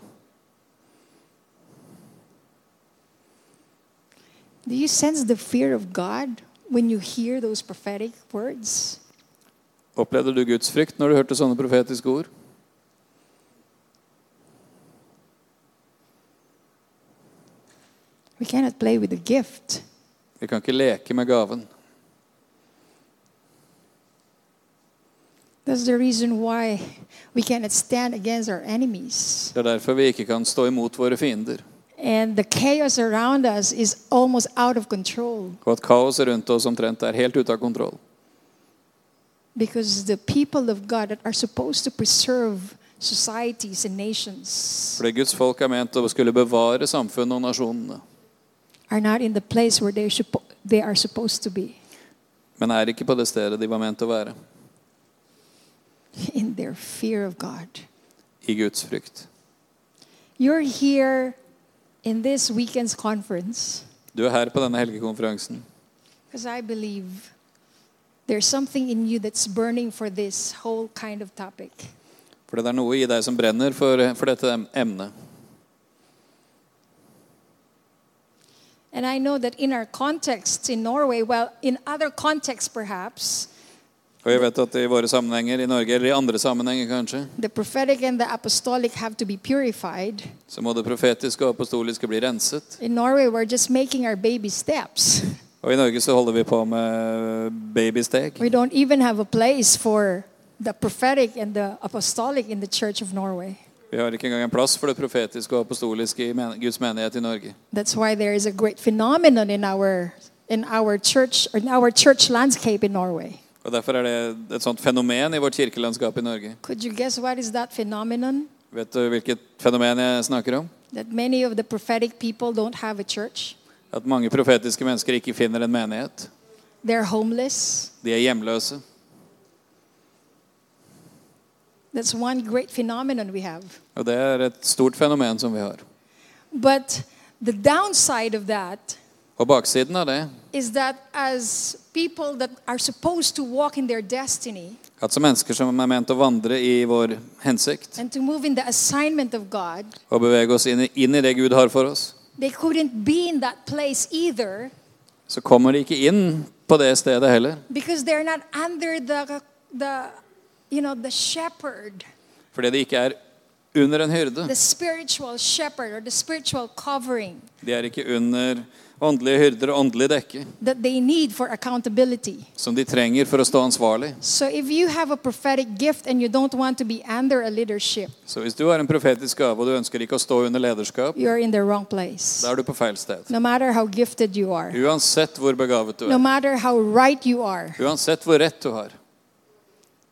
Speaker 2: Do you sense the fear of God when you hear those prophetic words?
Speaker 3: Opplevde du Guds frykt når du hørte sånne profetiske ord?
Speaker 2: We cannot play with the gift.
Speaker 3: Vi kan ikke leke med gaven.
Speaker 2: That's the reason why we cannot stand against our enemies.
Speaker 3: Det er derfor vi ikke kan stå imot våre fiender.
Speaker 2: And the chaos around us is almost out of control
Speaker 3: Og at kaoset rundt oss omtrent er helt ute av kontroll.
Speaker 2: because the people of God that are supposed to preserve societies and nations
Speaker 3: Fordi Guds folk er ment å skulle bevare samfunnet og nasjonene,
Speaker 2: are not in the place where they, suppo- they are supposed to be
Speaker 3: men er ikke på det stedet de var ment å være.
Speaker 2: in their fear of God.
Speaker 3: I Guds frykt.
Speaker 2: You're here in this weekend's conference
Speaker 3: Du er her på denne helgekonferansen
Speaker 2: because I believe there's something in you that's burning for this whole kind of topic.
Speaker 3: fordi det er noe i deg som brenner for, for dette em- emnet.
Speaker 2: And I know that in our context in Norway, well, in other contexts perhaps,
Speaker 3: Og jeg vet at i våre sammenhenger i Norge, eller i andre sammenhenger kanskje,
Speaker 2: the prophetic and the apostolic have to be purified.
Speaker 3: så må det profetiske og apostoliske bli renset.
Speaker 2: In Norway, we're just making our baby steps.
Speaker 3: Og i Norge så holder vi på med babysteg.
Speaker 2: We don't even have a place for the prophetic and the apostolic in the Church of Norway.
Speaker 3: Vi har ikke engang en plass for det profetiske og apostoliske i men Guds menighet i Norge.
Speaker 2: That's why there is a great phenomenon in our in our church or in our church landscape in Norway.
Speaker 3: Og Derfor er det et sånt fenomen i vårt kirkelandskap i Norge.
Speaker 2: Could you guess what is that phenomenon?
Speaker 3: Vet du hvilket fenomen jeg snakker om?
Speaker 2: That many of the prophetic people don't have a church.
Speaker 3: At mange profetiske mennesker ikke finner en menighet.
Speaker 2: They're homeless.
Speaker 3: De er hjemløse.
Speaker 2: That's one great phenomenon we have.
Speaker 3: Og det er et stort fenomen som vi har.
Speaker 2: But the downside of that
Speaker 3: Og baksiden av det
Speaker 2: is that as people that are supposed to walk in their destiny,
Speaker 3: At som mennesker som er ment å vandre i vår hensikt
Speaker 2: and to move in the assignment of God,
Speaker 3: og bevege oss inn i, inn i det Gud har for oss,
Speaker 2: they couldn't be in that place either
Speaker 3: så kommer de ikke inn på det stedet heller.
Speaker 2: because they're not under the, the you know, the shepherd,
Speaker 3: Fordi de ikke er under en hyrde.
Speaker 2: the spiritual shepherd or the spiritual covering
Speaker 3: De er ikke under åndelige hyrder og åndelig dekke,
Speaker 2: that they need for accountability.
Speaker 3: som de trenger for å stå ansvarlig.
Speaker 2: So if you have a prophetic gift and you don't want to be under a leadership,
Speaker 3: Så hvis du har en profetisk gave og du ønsker ikke å stå under lederskap,
Speaker 2: you're in the wrong place.
Speaker 3: da er du på feil sted.
Speaker 2: No matter how gifted you are,
Speaker 3: Uansett hvor begavet du
Speaker 2: no
Speaker 3: er,
Speaker 2: matter how right you are,
Speaker 3: uansett hvor rett du har,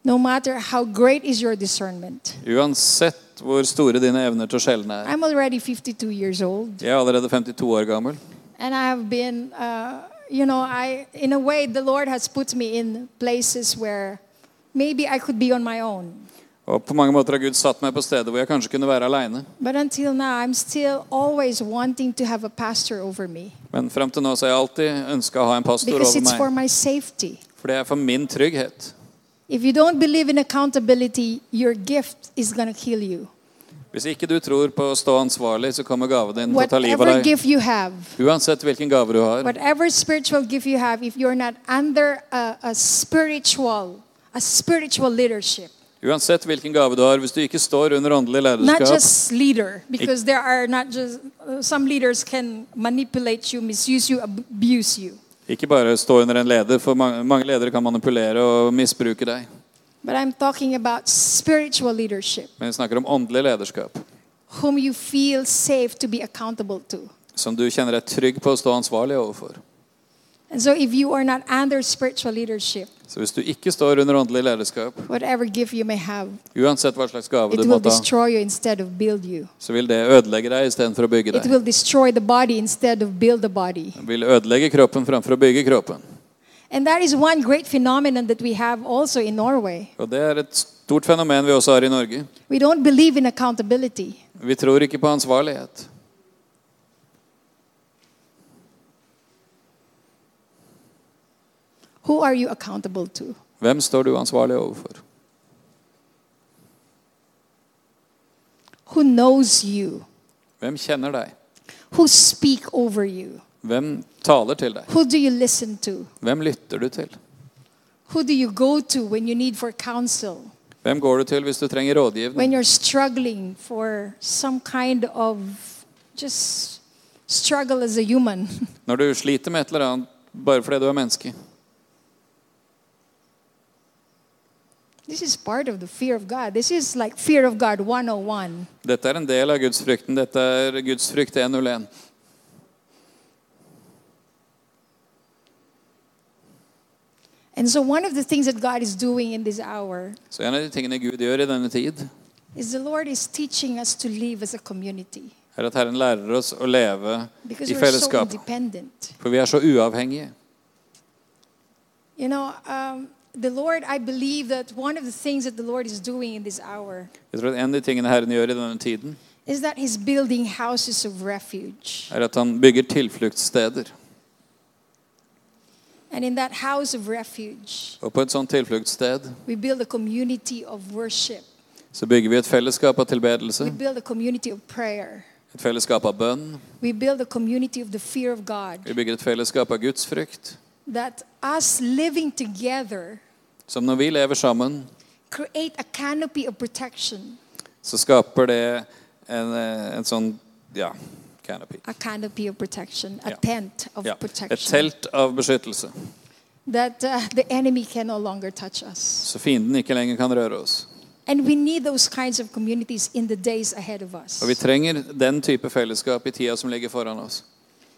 Speaker 2: no matter how great is your discernment.
Speaker 3: uansett hvor store dine evner til å skjelne er.
Speaker 2: I'm already 52 years old.
Speaker 3: Jeg er allerede 52 år gammel,
Speaker 2: And I have been, uh, you know, I, in a way, the Lord has put me in places where maybe I could be on my own.
Speaker 3: og på mange måter har Gud satt meg på stedet hvor jeg kanskje kunne være aleine.
Speaker 2: But until now, I'm still always wanting to have a pastor over me
Speaker 3: Men fram til nå så har jeg alltid ønska å ha en pastor
Speaker 2: because
Speaker 3: over
Speaker 2: it's for
Speaker 3: meg,
Speaker 2: my safety.
Speaker 3: for det er for min trygghet.
Speaker 2: If you don't believe in accountability, your gift is going to kill you.
Speaker 3: Hvis ikke du tror på å stå ansvarlig, så kommer gaven din til å ta livet
Speaker 2: Whatever
Speaker 3: av deg.
Speaker 2: gift you have,
Speaker 3: Uansett hvilken gave du har,
Speaker 2: whatever spiritual gift you have, if you're not under a, a spiritual, a spiritual leadership,
Speaker 3: uansett hvilken gave du har, hvis du ikke står under åndelig
Speaker 2: not
Speaker 3: lederskap
Speaker 2: just leader because there are not just uh, some leaders can manipulate you misuse you abuse you
Speaker 3: Ikke bare stå under en leder, for mange, mange ledere kan manipulere og misbruke deg.
Speaker 2: but i'm talking about spiritual leadership
Speaker 3: Men vi snakker om åndelig lederskap,
Speaker 2: whom you feel safe to be accountable to
Speaker 3: som du kjenner deg trygg på å stå ansvarlig overfor.
Speaker 2: and so if you are not under spiritual leadership
Speaker 3: Så hvis du ikke står under åndelig lederskap,
Speaker 2: whatever gift you may have
Speaker 3: uansett hva slags gave
Speaker 2: it
Speaker 3: du
Speaker 2: will
Speaker 3: måtte ha,
Speaker 2: destroy you instead of build you
Speaker 3: så vil det ødelegge deg istedenfor å bygge
Speaker 2: it
Speaker 3: deg.
Speaker 2: will destroy the body instead of build the body
Speaker 3: Det vil ødelegge kroppen framfor å bygge kroppen.
Speaker 2: and that is one great phenomenon that we have also in norway
Speaker 3: Og det er et stort fenomen vi også har i Norge.
Speaker 2: we don't believe in accountability
Speaker 3: Vi tror ikke på ansvarlighet.
Speaker 2: who are you accountable to
Speaker 3: Hvem står du ansvarlig overfor?
Speaker 2: who knows you
Speaker 3: Hvem kjenner deg?
Speaker 2: who speak over you
Speaker 3: Hvem taler til deg?
Speaker 2: who do you listen to
Speaker 3: Hvem lytter du til?
Speaker 2: who do you go to when you need for counsel
Speaker 3: Hvem går du til hvis du trenger
Speaker 2: when
Speaker 3: rådgivning?
Speaker 2: you're struggling for some kind of just struggle as a human
Speaker 3: Når du sliter med et eller annet bare fordi du er menneske.
Speaker 2: this is part of the fear of god this is like fear of god 101
Speaker 3: Dette er en del av gudsfrykten. Dette er gudsfrykt 101.
Speaker 2: and so one of the things that god is doing in this hour
Speaker 3: Så en av de tingene Gud gjør i denne tid,
Speaker 2: is the lord is teaching us to live as a community
Speaker 3: er at Herren lærer oss å leve
Speaker 2: because
Speaker 3: i
Speaker 2: we're so
Speaker 3: fellesskap.
Speaker 2: independent
Speaker 3: For vi er så uavhengige.
Speaker 2: you know um, the lord i believe that one of the things that the lord is doing in this hour
Speaker 3: Jeg tror at En av de tingene Herren gjør i denne tiden,
Speaker 2: is that he's building houses of refuge.
Speaker 3: er at han bygger tilfluktssteder.
Speaker 2: And in that house of refuge,
Speaker 3: Og på et sånt tilfluktssted
Speaker 2: we build a community of worship.
Speaker 3: så bygger vi et fellesskap av tilbedelse,
Speaker 2: We build a community of prayer.
Speaker 3: et fellesskap av bønn.
Speaker 2: We build a community of the fear of God.
Speaker 3: Vi bygger et fellesskap av gudsfrykt.
Speaker 2: That us living together
Speaker 3: Som når vi lever sammen,
Speaker 2: create a canopy of protection.
Speaker 3: så skaper det en, eh, en sånn ja, canopy.
Speaker 2: A canopy of protection, a
Speaker 3: Yeah.
Speaker 2: tent of
Speaker 3: Ja, et
Speaker 2: protection
Speaker 3: telt av beskyttelse,
Speaker 2: that uh, the enemy can no longer touch us.
Speaker 3: så fienden ikke lenger kan røre oss.
Speaker 2: And we need those kinds of communities in the days ahead of us
Speaker 3: Og vi trenger den type fellesskap i tida som ligger foran oss.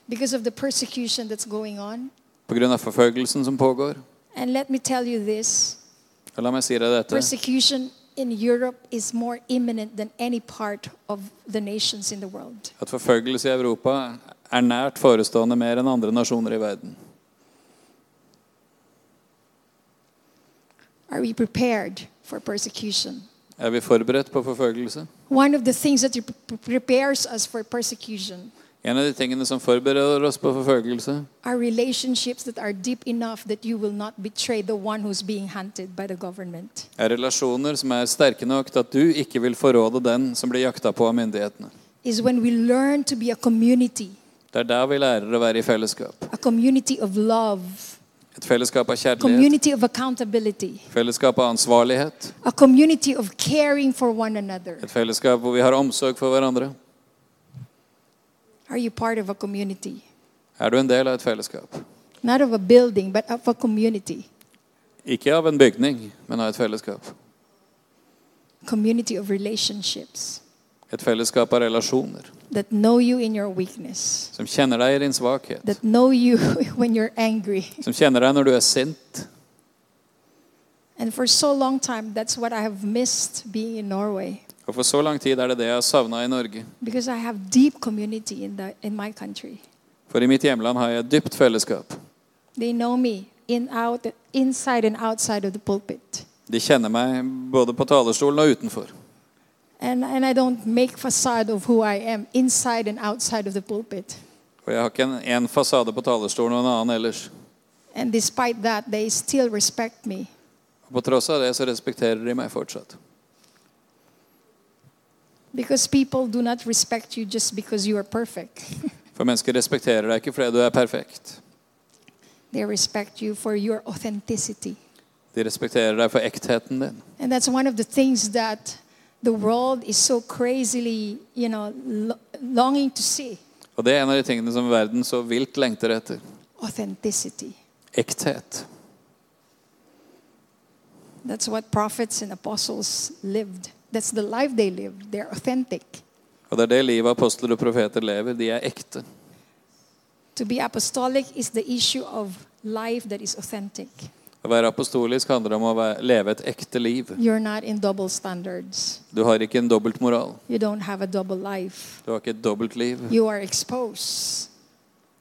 Speaker 2: because of the persecution that's going on.
Speaker 3: Pga. forfølgelsen som pågår.
Speaker 2: And let me tell you this
Speaker 3: Og la meg si deg dette.
Speaker 2: persecution in Europe is more imminent than any part of the nations in the world.
Speaker 3: At forfølgelse i Europa er nært forestående mer enn andre nasjoner i verden.
Speaker 2: Are we prepared for persecution?
Speaker 3: Er vi forberedt på forfølgelse?
Speaker 2: One of the things that pre- prepares us for persecution
Speaker 3: En av de tingene som forbereder oss på forfølgelse,
Speaker 2: are relationships that are deep enough that you will not betray the one who's being hunted by the government.
Speaker 3: er relasjoner som er sterke nok til at du ikke vil forråde den som blir jakta på av myndighetene.
Speaker 2: Is when we learn to be a community,
Speaker 3: Det er der vi lærer å være i fellesskap.
Speaker 2: a community of love,
Speaker 3: Et fellesskap av kjærlighet,
Speaker 2: community of accountability,
Speaker 3: fellesskap av ansvarlighet,
Speaker 2: a community of caring for one another.
Speaker 3: et fellesskap hvor vi har omsorg for hverandre.
Speaker 2: Are you part of a community?
Speaker 3: Er du en del av et fellesskap?
Speaker 2: Not of a building, but of a community.
Speaker 3: Ikke av en bygning, men av et fellesskap.
Speaker 2: Community of relationships
Speaker 3: Et fellesskap av relasjoner
Speaker 2: that know you in your weakness,
Speaker 3: som kjenner deg i din svakhet,
Speaker 2: that know you when you're angry.
Speaker 3: som kjenner deg når du er sint.
Speaker 2: And for so long time, that's what I have missed being in Norway.
Speaker 3: Og for så lang tid er det det jeg har savna i Norge.
Speaker 2: because I have deep community in, the, in my country.
Speaker 3: For i mitt hjemland har jeg et dypt fellesskap.
Speaker 2: They know me in out, inside and outside of the pulpit.
Speaker 3: De kjenner meg både på talerstolen og utenfor.
Speaker 2: And, and I don't make facade of who I am inside and outside of the pulpit.
Speaker 3: Og jeg har ikke en, en fasade på talerstolen og en annen ellers.
Speaker 2: And despite that, they still respect me.
Speaker 3: Og på tross av det så respekterer de meg fortsatt.
Speaker 2: Because people do not respect you just because you are perfect.
Speaker 3: For mennesker respekterer deg ikke fordi du er perfekt.
Speaker 2: they respect you for your authenticity.
Speaker 3: De respekterer deg for ektheten din.
Speaker 2: And that's one of the things that the world is so crazily, you know, lo- longing to see
Speaker 3: Og det er en av de tingene som verden så vilt lengter etter.
Speaker 2: authenticity.
Speaker 3: Ekthet.
Speaker 2: That's what prophets and apostles lived. That's the life they lived. They're authentic.
Speaker 3: Og det er det livet apostler og profeter lever. De er ekte.
Speaker 2: To be apostolic is the issue of life that is authentic.
Speaker 3: Å være apostolisk handler om å væ- leve et ekte liv.
Speaker 2: You're not in double standards.
Speaker 3: Du har ikke en dobbeltmoral.
Speaker 2: You don't have a double life.
Speaker 3: Du har ikke et dobbeltliv.
Speaker 2: You are exposed.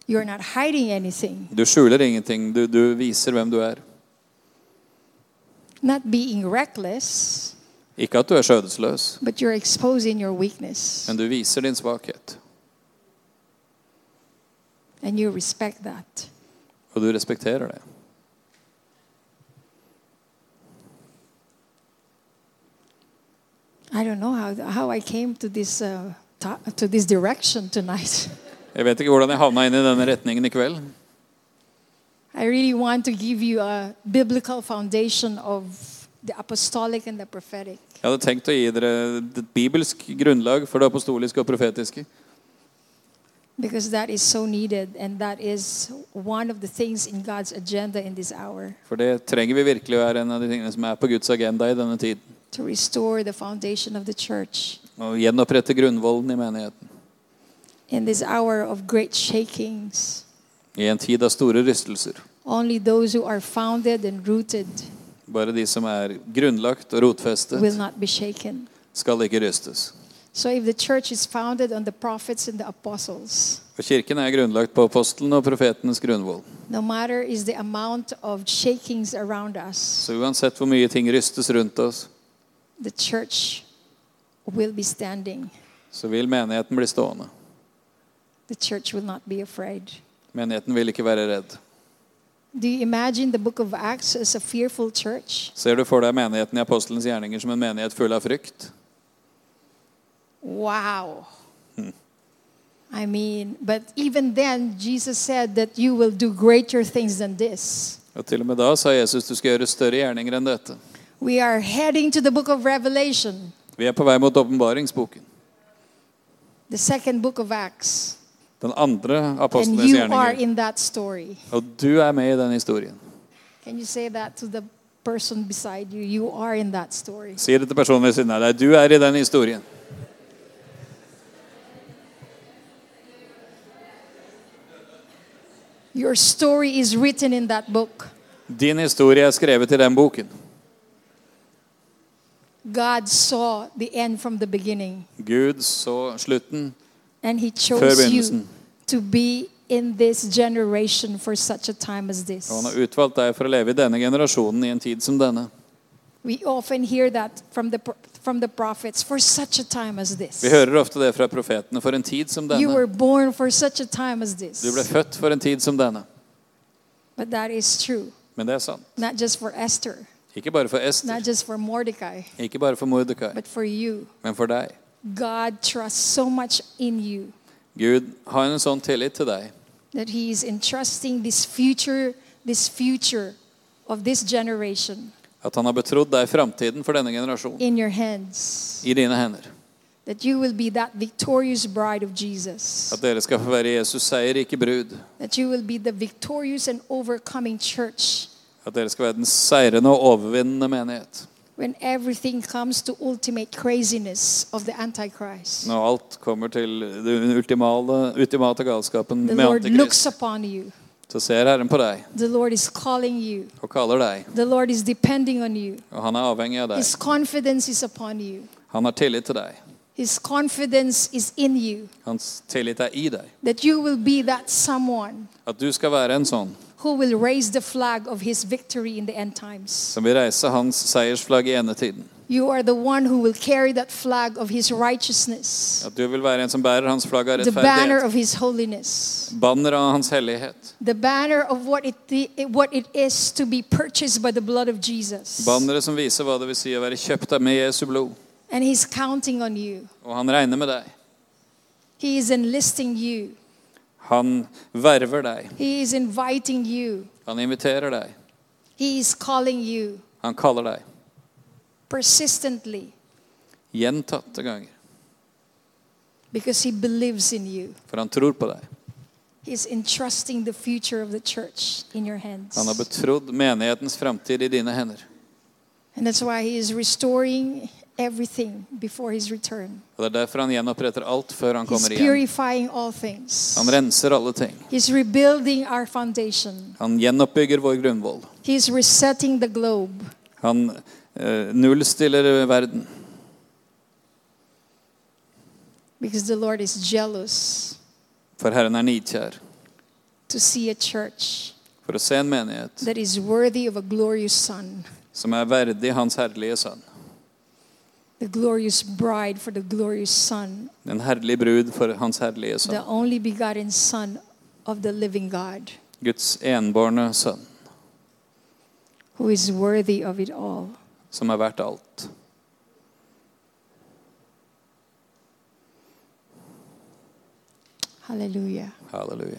Speaker 2: You're not hiding anything.
Speaker 3: Du skjuler ingenting. Du, du viser hvem du er.
Speaker 2: Not being reckless,
Speaker 3: Ikke at du er skjødesløs,
Speaker 2: but you're exposing your weakness.
Speaker 3: men du viser din svakhet.
Speaker 2: And you respect that.
Speaker 3: Og du respekterer det.
Speaker 2: I don't know how, how I came to this, uh, to, to this direction tonight.
Speaker 3: Jeg vet ikke hvordan jeg havna inn i denne retningen i kveld.
Speaker 2: I really want to give you a biblical foundation of the apostolic and the prophetic.
Speaker 3: Jeg hadde tenkt å gi dere et bibelsk grunnlag for det apostoliske og profetiske.
Speaker 2: Because that is so needed, and that is one of the things in God's agenda in this hour
Speaker 3: For det trenger vi virkelig å være en av de tingene som er på Guds agenda i denne tiden.
Speaker 2: to restore the foundation of the church
Speaker 3: Å gjenopprette grunnvollen i menigheten.
Speaker 2: in this hour of great shakings.
Speaker 3: I en tid av store rystelser.
Speaker 2: Only those who are founded and rooted
Speaker 3: Bare de som er grunnlagt og
Speaker 2: will
Speaker 3: rotfestet,
Speaker 2: not be shaken.
Speaker 3: skal ikke rystes.
Speaker 2: So, if the church is founded on the prophets and the apostles,
Speaker 3: Og kirken er grunnlagt på apostelen og profetenes grunnvoll.
Speaker 2: no matter is the amount of shakings around us,
Speaker 3: Så uansett hvor mye ting rystes rundt oss,
Speaker 2: the church will be standing.
Speaker 3: så vil menigheten bli stående.
Speaker 2: The church will not be afraid.
Speaker 3: Menigheten vil ikke være redd.
Speaker 2: Do you imagine the book of Acts as a fearful church?
Speaker 3: Ser du for deg menigheten i apostelens gjerninger som en menighet full av frykt?
Speaker 2: Wow. I mean, but even then, Jesus said that you will do greater things than this.
Speaker 3: Og til og med da sa Jesus du skal gjøre større gjerninger enn dette.
Speaker 2: We are heading to the book of Revelation,
Speaker 3: Vi er på vei mot åpenbaringsboken.
Speaker 2: the second book of Acts.
Speaker 3: Den andre
Speaker 2: And
Speaker 3: apostelens
Speaker 2: you are
Speaker 3: gjerninger.
Speaker 2: in that story.
Speaker 3: Og du er med i den historien.
Speaker 2: Can you say that to the person beside you? You are in that story.
Speaker 3: Si det til personen ved siden av deg. Du er i den historien.
Speaker 2: Your story is written in that book.
Speaker 3: Din historie er skrevet i den boken.
Speaker 2: God saw the end from the beginning,
Speaker 3: Gud så slutten
Speaker 2: and He
Speaker 3: før
Speaker 2: chose you
Speaker 3: begynnelsen.
Speaker 2: to be in this generation for such a time as
Speaker 3: Og han
Speaker 2: this.
Speaker 3: har utvalgt deg for å leve i denne generasjonen i en tid som denne.
Speaker 2: We often hear that from the, pro- from the prophets for such a time as this.
Speaker 3: Vi hører ofte det fra profetene. For en tid som
Speaker 2: You were
Speaker 3: denne.
Speaker 2: born for such a time as this.
Speaker 3: Du ble født for en tid som denne.
Speaker 2: But that is true.
Speaker 3: Men det er sant.
Speaker 2: Not just for Esther,
Speaker 3: Ikke bare for Ester,
Speaker 2: not just for Mordecai,
Speaker 3: ikke bare for Mordekai,
Speaker 2: but for you.
Speaker 3: men for deg.
Speaker 2: God trusts so much in you
Speaker 3: Gud har en sånn tillit til deg
Speaker 2: that he is entrusting this future, this future of this generation
Speaker 3: at han har betrodd deg framtiden for denne generasjonen
Speaker 2: in your hands.
Speaker 3: i dine hender.
Speaker 2: That you will be that victorious bride of Jesus.
Speaker 3: At dere skal få være Jesus' seierrike brud.
Speaker 2: That you will be the victorious and overcoming church
Speaker 3: At dere skal være den seirende og overvinnende menighet.
Speaker 2: when everything comes to ultimate craziness of the Antichrist.
Speaker 3: Når alt kommer til den ultimale, ultimate galskapen
Speaker 2: The
Speaker 3: med
Speaker 2: Lord looks
Speaker 3: antikrist,
Speaker 2: upon you.
Speaker 3: så ser Herren på deg
Speaker 2: The Lord is calling you.
Speaker 3: og kaller deg.
Speaker 2: The Lord is depending on you.
Speaker 3: Og han er avhengig av deg.
Speaker 2: His confidence is upon you.
Speaker 3: Han har tillit til deg.
Speaker 2: His confidence is in you
Speaker 3: Hans tillit er i deg.
Speaker 2: that you will be that someone
Speaker 3: At du skal være en sånn
Speaker 2: who will raise the flag of his victory in the end times.
Speaker 3: som vil reise hans seiersflagg i endetiden.
Speaker 2: You are the one who will carry that flag of his righteousness,
Speaker 3: At du vil være en som bærer hans flagg av
Speaker 2: the banner
Speaker 3: rettferdighet.
Speaker 2: of his holiness,
Speaker 3: Banner av hans hellighet.
Speaker 2: the banner of what it, the- what it is to be purchased by the blood of Jesus.
Speaker 3: Bannere som viser hva det vil si å være kjøpt av med Jesu blod.
Speaker 2: And he's counting on you,
Speaker 3: Og han regner med deg.
Speaker 2: he is enlisting you,
Speaker 3: Han verver deg.
Speaker 2: he is inviting you,
Speaker 3: Han inviterer deg.
Speaker 2: he is calling you
Speaker 3: Han kaller deg.
Speaker 2: persistently
Speaker 3: Gjentatte ganger.
Speaker 2: because he believes in you.
Speaker 3: For han tror på deg.
Speaker 2: He's entrusting the future of the church in your
Speaker 3: Han har
Speaker 2: hands.
Speaker 3: betrodd menighetens framtid i dine hender.
Speaker 2: And that's why he is restoring everything before his return.
Speaker 3: Og Det er derfor han gjenoppretter alt før han
Speaker 2: He's
Speaker 3: kommer igjen.
Speaker 2: purifying all things.
Speaker 3: Han renser alle ting.
Speaker 2: He's rebuilding our foundation.
Speaker 3: Han gjenoppbygger vår grunnvoll.
Speaker 2: He's resetting the globe.
Speaker 3: Han eh, nullstiller verden.
Speaker 2: Because the Lord is jealous
Speaker 3: For Herren er nidkjær.
Speaker 2: to see a church
Speaker 3: For å se en menighet
Speaker 2: that is worthy of a glorious son,
Speaker 3: som er verdig Hans herlige sønn.
Speaker 2: the glorious bride for the glorious son,
Speaker 3: En herlig brud for Hans herlige
Speaker 2: the
Speaker 3: sønn.
Speaker 2: only begotten son of the living God,
Speaker 3: Guds enbårne sønn,
Speaker 2: who is worthy of it all.
Speaker 3: som er verdt alt.
Speaker 2: Hallelujah.
Speaker 3: Halleluja.